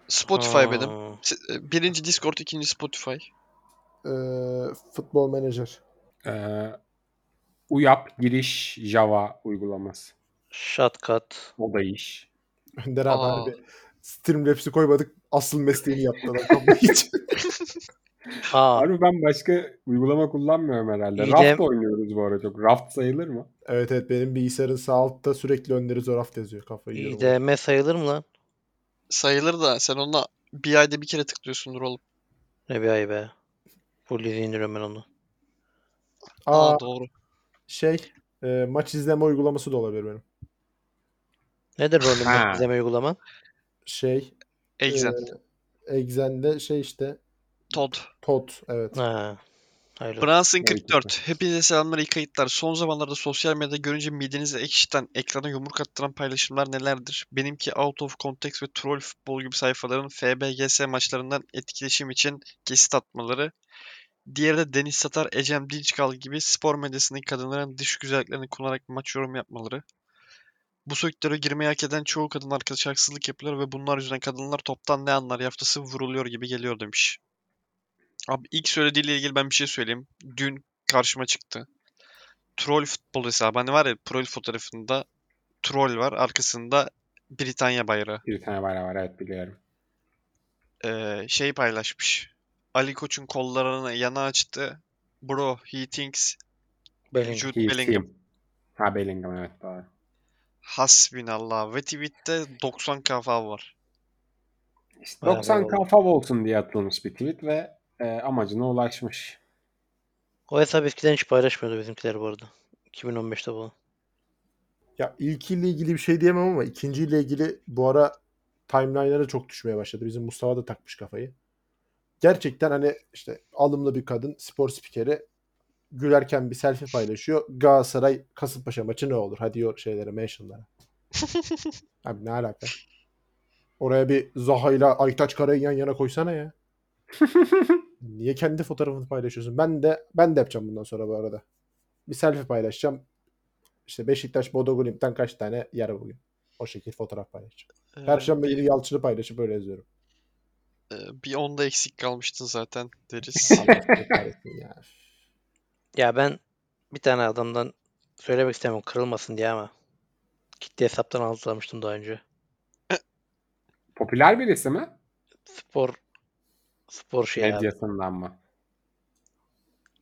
Speaker 2: Spotify
Speaker 5: Ha,
Speaker 2: benim. S- e, Birinci Discord, ikinci Spotify.
Speaker 4: Ee, futbol menajer.
Speaker 3: Ee, UYAP giriş Java uygulaması.
Speaker 5: Shotcut.
Speaker 3: O da iş.
Speaker 4: Önder abi
Speaker 2: Aa.
Speaker 4: harbi. Streamlabs'i koymadık. Asıl mesleğini yaptı adam. Kabul hiç.
Speaker 5: Aa,
Speaker 3: Harbi ben başka uygulama kullanmıyorum herhalde.
Speaker 5: İyi
Speaker 3: Raft
Speaker 5: de-
Speaker 3: oynuyoruz bu ara çok. Raft sayılır mı?
Speaker 4: evet evet benim bilgisayarın sağ altta sürekli Önder'i Zoraf yazıyor. Kafayı yiyorum.
Speaker 5: IDM sayılır mı lan?
Speaker 2: Sayılır da sen onunla bir ayda bir kere tıklıyorsundur oğlum.
Speaker 5: Ne bir ay be. Full dizi indiriyorum ben onu.
Speaker 4: Aa,
Speaker 2: Aa doğru.
Speaker 4: şey e, maç izleme uygulaması da olabilir benim.
Speaker 5: Nedir rolün
Speaker 3: Ha.
Speaker 5: izleme uygulaman?
Speaker 4: Şey
Speaker 2: Exen.
Speaker 4: e, Exen'de şey işte
Speaker 2: Todd.
Speaker 4: Todd evet.
Speaker 5: Ha. Hayırlı.
Speaker 2: Brunson
Speaker 3: Evet,
Speaker 2: 44. Hepinize selamlar iyi kayıtlar. Son zamanlarda sosyal medyada görünce midenizi ekşiten, ekrana yumruk attıran paylaşımlar nelerdir? Benimki Out of Context ve Troll Futbol gibi sayfaların FBGS maçlarından etkileşim için kesit atmaları. Diğeri de Deniz Satar, Ecem Dinçkal gibi spor medyasındaki kadınların dış güzelliklerini kullanarak maç yorum yapmaları. Bu sektöre girmeyi hak eden çoğu kadın arkadaş haksızlık yapılıyor ve bunlar yüzünden kadınlar toptan ne anlar yaftası vuruluyor gibi geliyor demiş. Abi ilk söylediğiyle ilgili ben bir şey söyleyeyim. Dün karşıma çıktı. Troll futbol hesabı. Hani var ya troll fotoğrafında troll var. Arkasında Britanya bayrağı.
Speaker 3: Bir tane bayrağı var evet biliyorum.
Speaker 2: Ee, şey paylaşmış. Ali Koç'un kollarını yana açtı. Bro, he thinks
Speaker 5: Bellingham.
Speaker 2: Jude
Speaker 3: He's
Speaker 2: Bellingham.
Speaker 3: him. Ha Bellingham evet doğru.
Speaker 2: Hasbinallah. Ve tweette 90k falan var.
Speaker 3: İşte
Speaker 5: Bayağı
Speaker 3: 90
Speaker 5: oldu.
Speaker 3: kafa olsun diye atılmış bir tweet ve e, amacına ulaşmış.
Speaker 5: O hesap eskiden hiç paylaşmıyordu bizimkiler bu arada. 2015'te bu.
Speaker 4: Ya ilkiyle ilgili bir şey diyemem ama ikinciyle ilgili bu ara timeline'lara çok düşmeye başladı. Bizim Mustafa da takmış kafayı. Gerçekten hani işte alımlı bir kadın spor spikeri gülerken bir selfie paylaşıyor. Galatasaray Kasımpaşa maçı ne olur? Hadi o şeylere mentionlara. Abi ne alaka? Oraya bir Zaha ile Aytaç Kara'yı yan yana koysana ya. Niye kendi fotoğrafını paylaşıyorsun? Ben de ben de yapacağım bundan sonra bu arada. Bir selfie paylaşacağım. İşte Beşiktaş Bodoglimp'ten kaç tane yer bugün. O şekil fotoğraf paylaşacağım.
Speaker 2: Ee,
Speaker 4: Perşembe günü Yalçın'ı paylaşıp öyle yazıyorum.
Speaker 2: e, bir onda eksik kalmıştın zaten deriz.
Speaker 4: Allah seni kahretsin ya.
Speaker 5: Ya ben bir tane adamdan söylemek istemiyorum kırılmasın diye ama kitle hesaptan algılamıştım daha önce.
Speaker 3: Popüler birisi mi?
Speaker 5: Spor spor şey abi.
Speaker 3: Medyasından mı?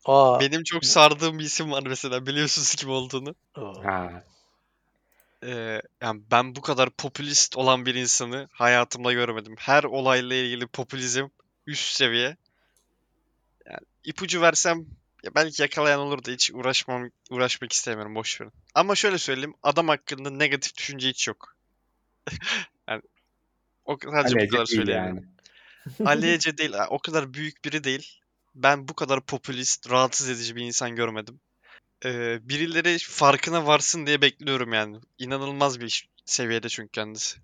Speaker 5: Aa,
Speaker 2: Benim çok sardığım bir isim var mesela. Biliyorsunuz kim olduğunu.
Speaker 5: o.
Speaker 3: Ha.
Speaker 2: Ee, yani ben bu kadar popülist olan bir insanı hayatımda görmedim. Her olayla ilgili popülizm üst seviye. Yani ipucu versem ya belki yakalayan olur da hiç uğraşmam uğraşmak istemiyorum boş verin. Ama şöyle söyleyeyim adam hakkında negatif düşünce hiç yok. yani o sadece bu
Speaker 3: Aleyce
Speaker 2: kadar
Speaker 3: Hani değil
Speaker 2: söyleyebilirim.
Speaker 3: yani.
Speaker 2: Ali Ece değil. O kadar büyük biri değil. Ben bu kadar popülist, rahatsız edici bir insan görmedim. Ee, birileri farkına varsın diye bekliyorum yani. İnanılmaz bir iş- seviyede çünkü kendisi.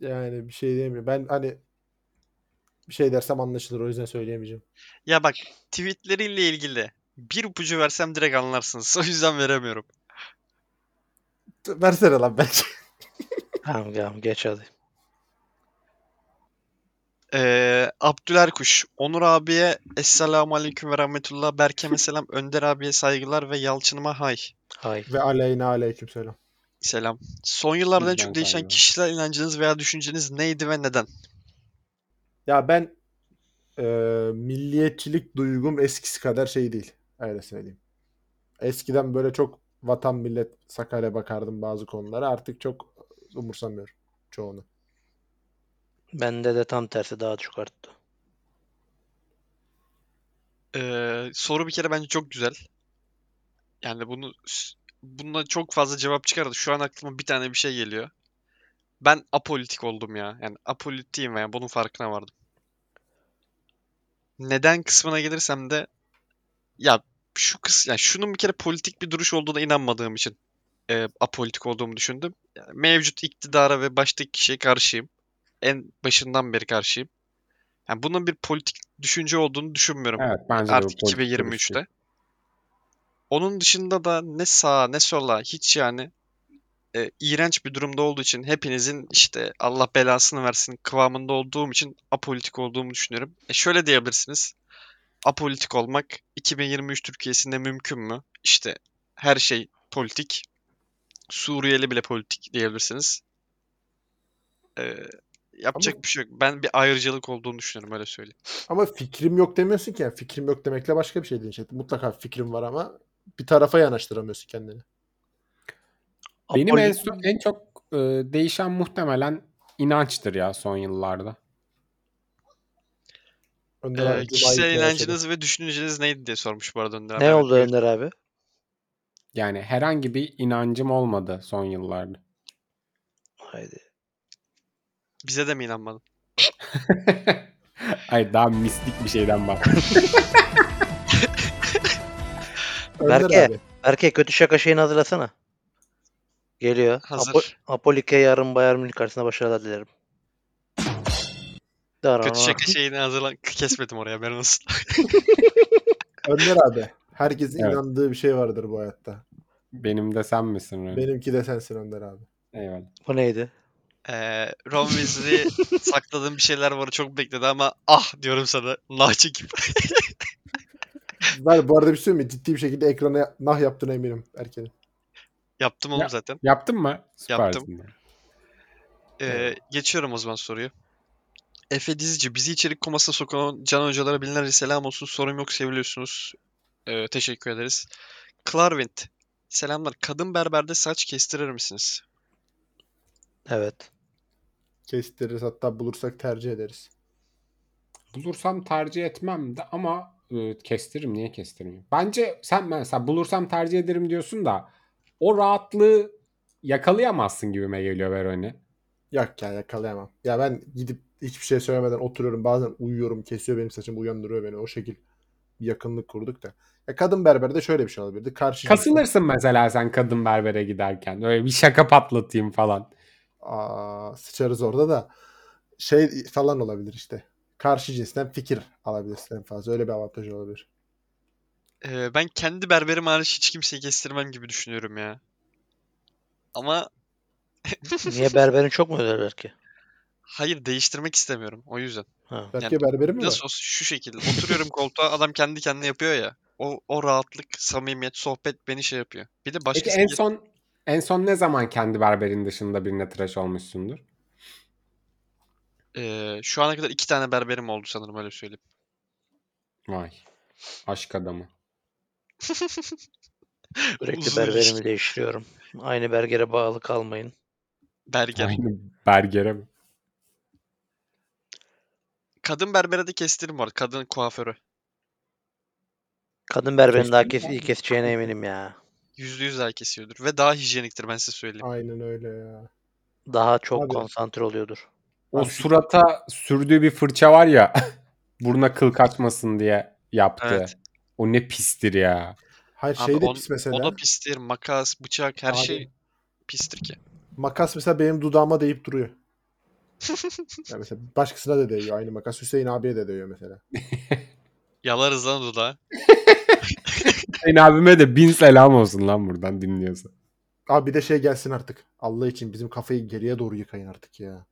Speaker 4: Yani bir şey diyemiyorum. Ben hani bir şey dersem anlaşılır o yüzden söyleyemeyeceğim.
Speaker 2: Ya bak tweetleriyle ilgili bir ipucu versem direkt anlarsınız. O yüzden veremiyorum.
Speaker 4: T- Versene lan bence.
Speaker 5: Tamam tamam geç hadi.
Speaker 2: Ee, Abdülerkuş, Onur abiye Esselamu Aleyküm ve Rahmetullah, Berkem'e selam, Önder abiye saygılar ve Yalçın'ıma hay.
Speaker 5: Hay.
Speaker 4: Ve aleyna aleyküm selam.
Speaker 2: Selam. Son yıllarda en
Speaker 3: Bizden
Speaker 2: çok değişen
Speaker 3: saygılar.
Speaker 2: kişisel inancınız veya düşünceniz neydi ve neden?
Speaker 4: Ya ben e, milliyetçilik duygum eskisi kadar şey değil. Öyle söyleyeyim. Eskiden böyle çok vatan millet Sakarya bakardım bazı konulara. Artık çok umursamıyorum çoğunu.
Speaker 5: Bende de tam tersi daha çok arttı.
Speaker 2: Ee, soru bir kere bence çok güzel. Yani bunu bununla çok fazla cevap çıkardı. Şu an aklıma bir tane bir şey geliyor. Ben apolitik oldum ya. Yani apolitiyim ya. Bunun farkına vardım. Neden kısmına gelirsem de ya şu kıs yani şunun bir kere politik bir duruş olduğuna inanmadığım için e, apolitik olduğumu düşündüm. Yani mevcut iktidara ve baştaki kişiye karşıyım. En başından beri karşıyım. Yani bunun bir politik düşünce olduğunu düşünmüyorum.
Speaker 3: Evet bence de bu
Speaker 2: Artık
Speaker 3: politik bir
Speaker 2: 2023'te.
Speaker 3: şey.
Speaker 2: Onun dışında da ne sağa ne sola hiç yani e, iğrenç bir durumda olduğu için hepinizin işte Allah belasını versin kıvamında olduğum için apolitik olduğumu düşünüyorum. E şöyle diyebilirsiniz. Apolitik olmak 2023 Türkiye'sinde mümkün mü? İşte her şey politik. Suriyeli bile politik diyebilirsiniz. E, yapacak
Speaker 4: Ama-
Speaker 2: bir şey yok. Ben bir ayrıcalık olduğunu düşünüyorum öyle söyleyeyim.
Speaker 4: Ama fikrim yok demiyorsun ki. yani. Fikrim yok demekle başka bir şey değil. İşte mutlaka fikrim var ama bir tarafa yanaştıramıyorsun kendini.
Speaker 3: Benim en,
Speaker 5: Apoli-
Speaker 3: so- en çok e, değişen muhtemelen inançtır ya son yıllarda.
Speaker 4: Önder
Speaker 2: Ee,
Speaker 4: abi, Cuma'yı
Speaker 2: kişisel
Speaker 4: gitmeye başladı.
Speaker 2: inancınız ve düşünceniz neydi diye sormuş bu arada Önder abi.
Speaker 5: Ne
Speaker 2: Evet,
Speaker 5: oldu
Speaker 2: buyur.
Speaker 5: Önder abi?
Speaker 3: Yani herhangi bir inancım olmadı son yıllarda.
Speaker 5: Haydi.
Speaker 2: Bize de mi inanmadın?
Speaker 3: Hayır daha mistik bir şeyden bahsediyorum.
Speaker 4: Önder
Speaker 5: Berke.
Speaker 4: abi.
Speaker 5: Erkek kötü şaka şeyini hazırlasana. Geliyor.
Speaker 2: Hazır.
Speaker 5: Apo- Apolike yarın Bayern Münih karşısında başarılar dilerim.
Speaker 2: Kötü
Speaker 5: Darana.
Speaker 2: şaka şeyini hazırlan... Kesmedim oraya ben olsun.
Speaker 4: Önder abi. Herkesin
Speaker 3: Evet.
Speaker 4: inandığı bir şey vardır bu hayatta.
Speaker 3: Benim de sen misin? Rune?
Speaker 4: Benimki de sensin Önder abi.
Speaker 3: Eyvallah.
Speaker 5: Bu neydi?
Speaker 2: Ee, Ron Weasley sakladığım bir şeyler var çok bekledi ama ah diyorum sana nah çekip.
Speaker 4: Ben bu arada bir şey söyleyeyim mi? Ciddi bir şekilde ekrana nah yaptığına eminim Erken'in.
Speaker 2: Yaptım oğlum
Speaker 3: Ya-
Speaker 2: zaten.
Speaker 3: Yaptın mı?
Speaker 2: Yaptım.
Speaker 3: Süpersin.
Speaker 2: Ee, geçiyorum o zaman soruyu. Efe Dizci bizi içerik komasına sokan Can Hocalara binlerce selam olsun. Sorun yok seviliyorsunuz. Ee, teşekkür ederiz. Clarvent Selamlar. Kadın berberde saç kestirir misiniz?
Speaker 5: Evet.
Speaker 4: Kestiririz hatta bulursak tercih ederiz.
Speaker 3: Bulursam tercih etmem de ama e, kestiririm. Niye kestirmeyeyim? Bence sen mesela bulursam tercih ederim diyorsun da o rahatlığı yakalayamazsın gibime geliyor Veroni.
Speaker 4: Yok ya yakalayamam. Ya ben gidip hiçbir şey söylemeden oturuyorum. Bazen uyuyorum. Kesiyor benim saçımı. Uyandırıyor beni. O şekil bir yakınlık kurduk da. Ya kadın berberde şöyle bir şey olabilirdi. Karşı cinsten-
Speaker 3: Kasılırsın mesela sen kadın berbere giderken. Öyle bir şaka patlatayım falan.
Speaker 4: Aa, sıçarız orada da. Şey falan olabilir işte. Karşı cinsten fikir alabilirsin en fazla. Öyle bir avantaj olabilir.
Speaker 2: Ee, ben kendi berberim hariç hiç kimseyi kestirmem gibi düşünüyorum ya. Ama
Speaker 5: Niye berberin çok mu öder belki?
Speaker 2: hayır değiştirmek istemiyorum o yüzden.
Speaker 5: Ha.
Speaker 4: Belki berberi mi var?
Speaker 2: Nasıl olsa şu şekilde oturuyorum koltuğa adam kendi kendine yapıyor ya. O, o rahatlık, samimiyet, sohbet beni şey yapıyor. Bir de
Speaker 3: Peki
Speaker 2: başkası
Speaker 3: en son en son ne zaman kendi berberin dışında birine tıraş olmuşsundur?
Speaker 2: Ee, şu ana kadar iki tane berberim oldu sanırım öyle söyleyeyim.
Speaker 3: Vay. Aşk adamı.
Speaker 5: Sürekli
Speaker 2: Uzun
Speaker 5: berberimi
Speaker 2: ilişki.
Speaker 5: değiştiriyorum. Aynı bergere bağlı kalmayın.
Speaker 2: Berger.
Speaker 3: Aynı bergere mi?
Speaker 2: Kadın berbere de kestirim var. Kadın kuaförü.
Speaker 5: Kadın berberin daha kes,
Speaker 3: Keşke-
Speaker 5: iyi keseceğine eminim ya.
Speaker 2: Yüzde yüz daha kesiyordur. Ve daha hijyeniktir ben size söyleyeyim.
Speaker 4: Aynen öyle ya.
Speaker 5: Daha çok
Speaker 4: Abi.
Speaker 5: konsantre oluyordur.
Speaker 3: O surata sürdüğü bir fırça var ya. buruna kıl kaçmasın diye yaptı.
Speaker 2: Evet.
Speaker 3: O ne pistir ya.
Speaker 4: Hayır
Speaker 2: Abi
Speaker 4: şey de
Speaker 2: on-
Speaker 4: pis mesela.
Speaker 2: O da pistir. Makas, bıçak her
Speaker 4: Abi.
Speaker 2: şey pistir ki.
Speaker 4: Makas mesela benim dudağıma değip duruyor. Ya mesela başkasına da değiyor aynı makas. Hüseyin abiye de değiyor mesela.
Speaker 2: Yalarız lan dudağı.
Speaker 3: Hüseyin abime de bin selam olsun lan buradan dinliyorsa.
Speaker 4: Abi bir de şey gelsin artık. Allah için bizim kafayı geriye doğru yıkayın artık ya.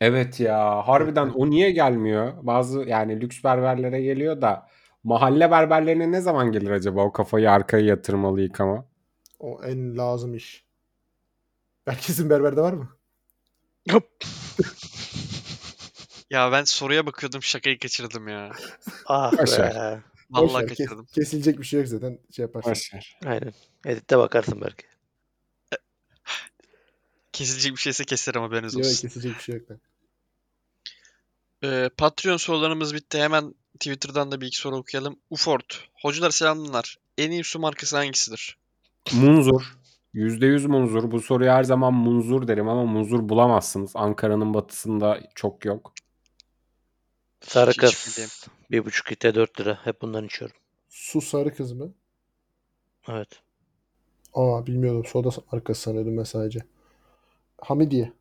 Speaker 3: Evet ya harbiden o niye gelmiyor? Bazı yani lüks berberlere geliyor da mahalle berberlerine ne zaman gelir acaba o kafayı arkaya yatırmalı yıkama?
Speaker 4: O en lazım iş. Herkesin berberde var mı?
Speaker 2: Ya ben soruya bakıyordum şakayı kaçırdım ya.
Speaker 5: Ah
Speaker 3: Başar.
Speaker 5: be.
Speaker 4: Boş
Speaker 2: Vallahi
Speaker 4: ver, kes-
Speaker 2: kaçırdım.
Speaker 4: kesilecek bir şey yok zaten. Şey yaparsın.
Speaker 5: Aynen. Editte bakarsın belki.
Speaker 2: Kesilecek bir şeyse keserim haberiniz
Speaker 4: Yok
Speaker 2: olsun.
Speaker 4: kesilecek bir şey yok. lan.
Speaker 2: Ee, Patreon sorularımız bitti. Hemen Twitter'dan da bir iki soru okuyalım. Ufort. Hocalar selamlar. En iyi su markası hangisidir?
Speaker 3: Munzur. %100 munzur. Bu soruyu her zaman munzur derim ama munzur bulamazsınız. Ankara'nın batısında çok yok.
Speaker 5: Sarı
Speaker 2: Hiç bilmiyorum.
Speaker 5: kas. Bir buçuk litre 4 lira. Hep bundan içiyorum.
Speaker 6: Su sarı kız mı?
Speaker 5: Evet.
Speaker 6: Aa bilmiyordum. Soda markası sanıyordum ben sadece. Hamidiye.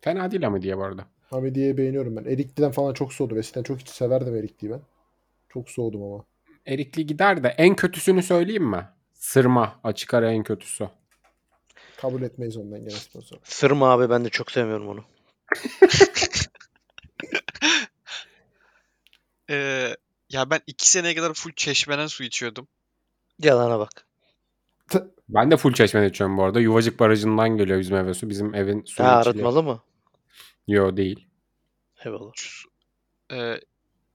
Speaker 3: Fena değil ama diye bu arada.
Speaker 6: Hamidiye'yi beğeniyorum ben. Erikli'den falan çok soğudum. Eskiden çok hiç severdim Erikli'yi ben. Çok soğudum ama.
Speaker 3: Erikli gider de en kötüsünü söyleyeyim mi? Sırma. Açık ara en kötüsü.
Speaker 6: Kabul etmeyiz ondan gene sponsor.
Speaker 5: Sırma abi ben de çok sevmiyorum onu.
Speaker 2: Ee, ya ben iki seneye kadar full çeşmeden su içiyordum.
Speaker 5: Yalana bak.
Speaker 3: Ben de full çeşmeden içiyorum bu arada. Yuvacık Barajı'ndan geliyor bizim eve su. Bizim evin suyu
Speaker 5: Ha
Speaker 3: içiliyor.
Speaker 5: arıtmalı mı?
Speaker 3: Yo değil.
Speaker 5: Eyvallah.
Speaker 2: Şu- Ee,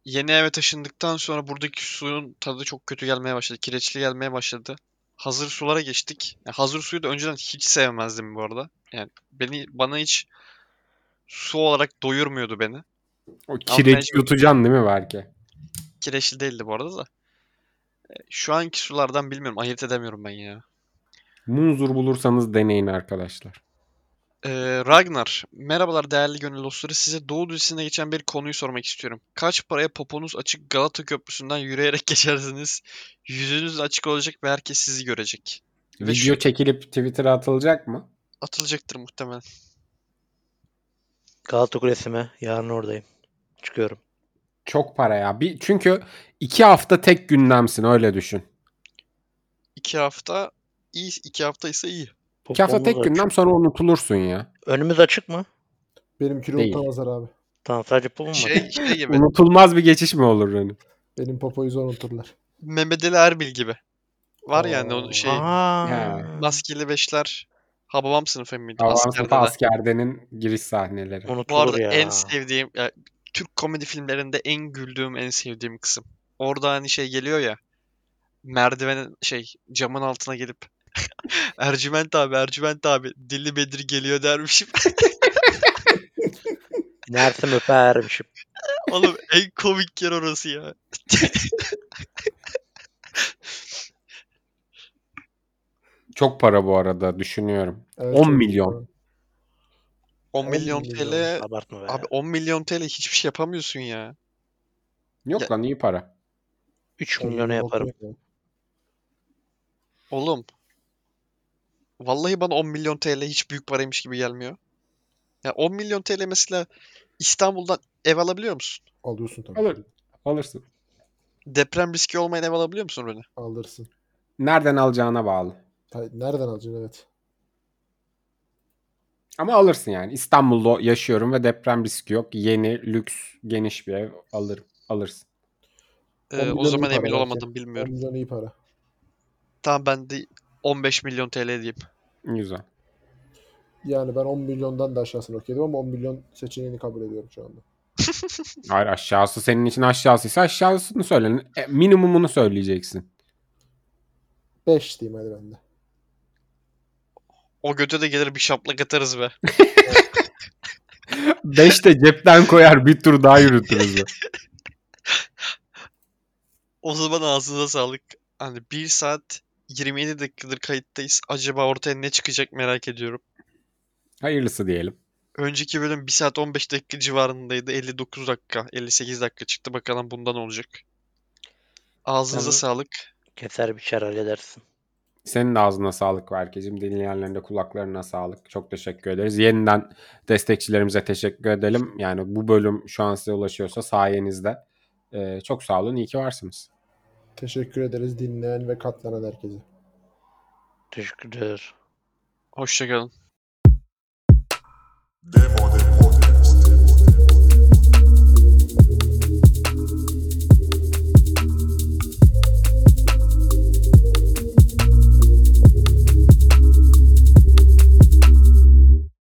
Speaker 2: yeni eve taşındıktan sonra buradaki suyun tadı çok kötü gelmeye başladı. Kireçli gelmeye başladı. Hazır sulara geçtik. Ya hazır suyu da önceden hiç sevmezdim bu arada. Yani beni bana hiç su olarak doyurmuyordu beni.
Speaker 3: O kireç
Speaker 2: mecbur.
Speaker 3: yutacaksın değil mi belki?
Speaker 2: Kireçli değildi bu arada da. Ee, Şu anki sulardan bilmiyorum. Ayırt edemiyorum ben ya.
Speaker 3: Munzur bulursanız deneyin arkadaşlar.
Speaker 2: Ee, Ragnar, merhabalar değerli gönül dostları. Size Doğu dizisinde geçen bir konuyu sormak istiyorum. Kaç paraya poponuz açık Galata Köprüsü'nden yürüyerek geçersiniz? Yüzünüz açık olacak ve herkes sizi görecek. Ve
Speaker 3: Video
Speaker 2: şu
Speaker 3: çekilip Twitter'a atılacak mı?
Speaker 2: atılacaktır muhtemelen.
Speaker 5: Galata Kulesi'me. Yarın oradayım. Çıkıyorum.
Speaker 3: Çok para ya. Bir, çünkü iki hafta tek gündemsin öyle düşün.
Speaker 2: İki hafta iyi, iki hafta ise iyi.
Speaker 3: İki hafta
Speaker 5: Popomuz
Speaker 3: tek
Speaker 5: açık.
Speaker 3: gündem sonra unutulursun ya.
Speaker 5: Önümüz açık mı?
Speaker 6: Benimkini
Speaker 3: Değil.
Speaker 6: unutamazlar abi.
Speaker 5: Tamam sadece popom mu?
Speaker 2: Şey, şey gibi,
Speaker 3: Unutulmaz bir geçiş mi olur yani?
Speaker 6: Benim popoyu zor unuturlar.
Speaker 2: Mehmet Ali Erbil gibi. Var yani
Speaker 6: Oo.
Speaker 2: o şey,
Speaker 5: Aa.
Speaker 3: He.
Speaker 2: maskeli beşler, Hababam sınıfı mıydı?
Speaker 3: Havan
Speaker 2: Askerde
Speaker 3: sınıfı
Speaker 2: de.
Speaker 3: askerdenin giriş sahneleri.
Speaker 5: Unutulur
Speaker 2: Bu arada
Speaker 5: ya.
Speaker 2: en sevdiğim ya, Türk komedi filmlerinde en güldüğüm en sevdiğim kısım. Orada hani şey geliyor ya merdivenin şey camın altına gelip Ercüment abi Ercüment abi dilli Bedir geliyor dermişim.
Speaker 5: Nersem öpermişim.
Speaker 2: Oğlum en komik yer orası ya.
Speaker 3: Çok para bu arada düşünüyorum.
Speaker 6: Evet,
Speaker 3: 10
Speaker 6: çok
Speaker 3: milyon.
Speaker 6: güzel.
Speaker 2: 10 milyon TL
Speaker 5: Abartma be.
Speaker 2: abi 10 milyon TL hiçbir şey yapamıyorsun ya.
Speaker 3: Yok
Speaker 2: Ya-
Speaker 3: lan iyi para.
Speaker 5: 3
Speaker 6: Tabii,
Speaker 5: milyona
Speaker 6: bakıyor
Speaker 5: yaparım.
Speaker 6: ya.
Speaker 2: Oğlum. Vallahi bana 10 milyon TL hiç büyük paraymış gibi gelmiyor. Ya 10 milyon TL mesela İstanbul'dan ev alabiliyor musun?
Speaker 6: Alıyorsun tabii.
Speaker 3: Alır. Alırsın.
Speaker 2: Deprem riski olmayan ev alabiliyor musun Rune?
Speaker 6: Alırsın.
Speaker 3: Nereden alacağına bağlı.
Speaker 6: Ta- Nereden alacaksın evet.
Speaker 3: Ama alırsın yani. İstanbul'da yaşıyorum ve deprem riski yok. Yeni, lüks, geniş bir ev alırım. Alırsın.
Speaker 2: Ee,
Speaker 6: 10
Speaker 2: o
Speaker 6: milyon
Speaker 2: zaman
Speaker 6: iyi para
Speaker 2: emin
Speaker 6: belki.
Speaker 2: olamadım
Speaker 6: 10
Speaker 2: bilmiyorum.
Speaker 6: milyon iyi para.
Speaker 2: Tamam ben de 15 milyon TL diyeyim.
Speaker 3: Güzel.
Speaker 6: Yani ben 10 milyondan da aşağısını okeydim ama 10 milyon seçeneğini kabul ediyorum şu anda.
Speaker 3: Hayır aşağısı senin için aşağısıysa aşağısını söyle. E, minimumunu söyleyeceksin.
Speaker 6: 5 diyeyim hadi ben de.
Speaker 2: O göte de gelir bir şaplak atarız be.
Speaker 3: 5 de cepten koyar bir tur daha yürütürüz. be.
Speaker 2: O zaman ağzınıza sağlık. Hani 1 saat 27 dakikadır kayıttayız. Acaba ortaya ne çıkacak merak ediyorum.
Speaker 3: Hayırlısı diyelim.
Speaker 2: Önceki bölüm 1 saat 15 dakika civarındaydı. 59 dakika, 58 dakika çıktı. Bakalım bundan olacak. Ağzınıza
Speaker 5: Tamam.
Speaker 2: sağlık.
Speaker 5: Keser biçer halledersin.
Speaker 3: Senin de ağzına sağlık Berke'cim. Dinleyenlerin de kulaklarına sağlık. Çok teşekkür ederiz. Yeniden destekçilerimize teşekkür edelim. Yani bu bölüm şu an size ulaşıyorsa sayenizde. Ee, çok sağ olun. İyi ki varsınız.
Speaker 6: Teşekkür ederiz dinleyen ve katlanan herkese.
Speaker 5: Teşekkürler.
Speaker 2: Hoşçakalın.
Speaker 7: Devo